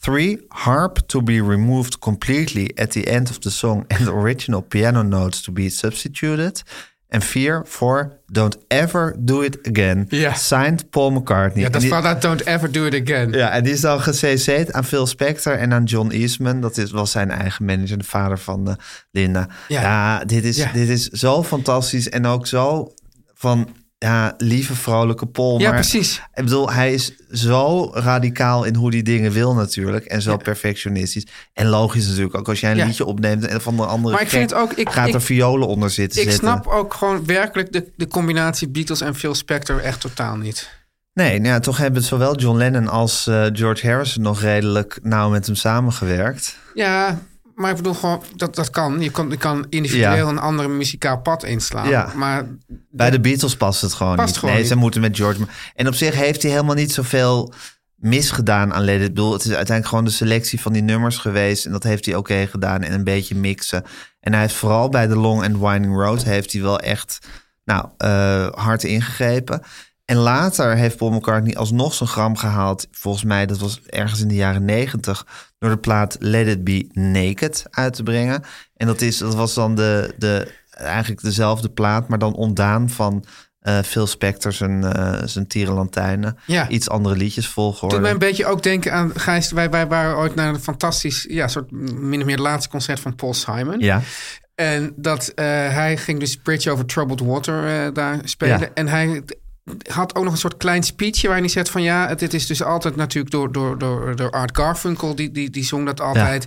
Three, harp to be removed completely at the end of the song and original piano notes to be substituted. En vier, four, don't ever do it again. Ja. Signed Paul McCartney. Ja, En dat die- staat daar, Don't Ever Do It Again. ja, en die is dan gecc'd aan Phil Spector en aan John Eastman. Dat is, was zijn eigen manager, de vader van eh, Linda. Ja. Ja, dit, is, Ja. dit is zo fantastisch en ook zo van... Ja, lieve vrolijke Paul. Ja, maar, precies. Ik bedoel, hij is zo radicaal in hoe die dingen wil natuurlijk. En zo perfectionistisch. En logisch natuurlijk ook. Als jij een Ja. liedje opneemt en van de andere Maar ik gek vind het ook- ik- gaat ik- er violen onder zitten Ik zetten. snap ook gewoon werkelijk de, de combinatie Beatles en Phil Spector echt totaal niet. Nee, nou ja, toch hebben zowel John Lennon als eh, George Harrison nog redelijk nauw met hem samengewerkt. Ja, maar ik bedoel gewoon, dat, dat kan. Je kan, je kan individueel Ja. een ander muzikaal pad inslaan. Ja. Maar Bij de Beatles past het gewoon Past niet. gewoon nee, ze niet. moeten met George. maar- En op zich heeft hij helemaal niet zoveel misgedaan aan Let It Be. Ik bedoel, Het is uiteindelijk gewoon de selectie van die nummers geweest. En dat heeft hij oké gedaan. En een beetje mixen. En hij heeft vooral bij de Long and Winding Road... heeft hij wel echt nou, eh, hard ingegrepen. En later heeft Paul McCartney alsnog zijn gram gehaald. Volgens mij, dat was ergens in de jaren negentig... door de plaat Let It Be Naked uit te brengen. En dat, is, dat was dan de, de, eigenlijk dezelfde plaat... maar dan ontdaan van eh, Phil Spector zijn, eh zijn Tierenlantijnen. Ja. Iets andere liedjes volgorde. doet mij een beetje ook denken aan Gijs. Wij, wij waren ooit naar een fantastisch, ja, soort min of meer het laatste concert van Paul Simon. Ja. En dat eh, hij ging dus Bridge Over Troubled Water eh, daar spelen. Ja. En hij had ook nog een soort klein speechje waarin hij zegt van ja, het- dit is dus altijd natuurlijk door, door, door, door Art Garfunkel, die, die, die zong dat altijd.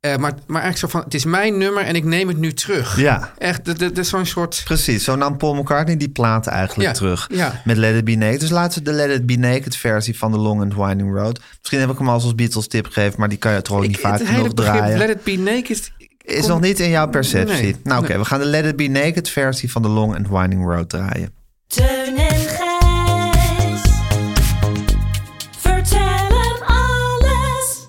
Eh, maar, maar eigenlijk zo van, het is mijn nummer en ik neem het nu terug. Ja. Echt, dat- dat dat is zo'n soort... Precies, zo nam Paul McCartney die plaat eigenlijk Ja, terug ja. met Let It Be Naked. Dus laten we de Let It Be Naked versie van The Long and Winding Road. Misschien heb ik hem al als Beatles tip gegeven, maar die kan je toch ook niet vaak het hele genoeg begrip draaien. Let It Be Naked... Is nog niet in jouw perceptie. Nee, nou oké, nee. we gaan de Let It Be Naked versie van The Long and Winding Road draaien. Teun en Gijs. Vertel hem alles.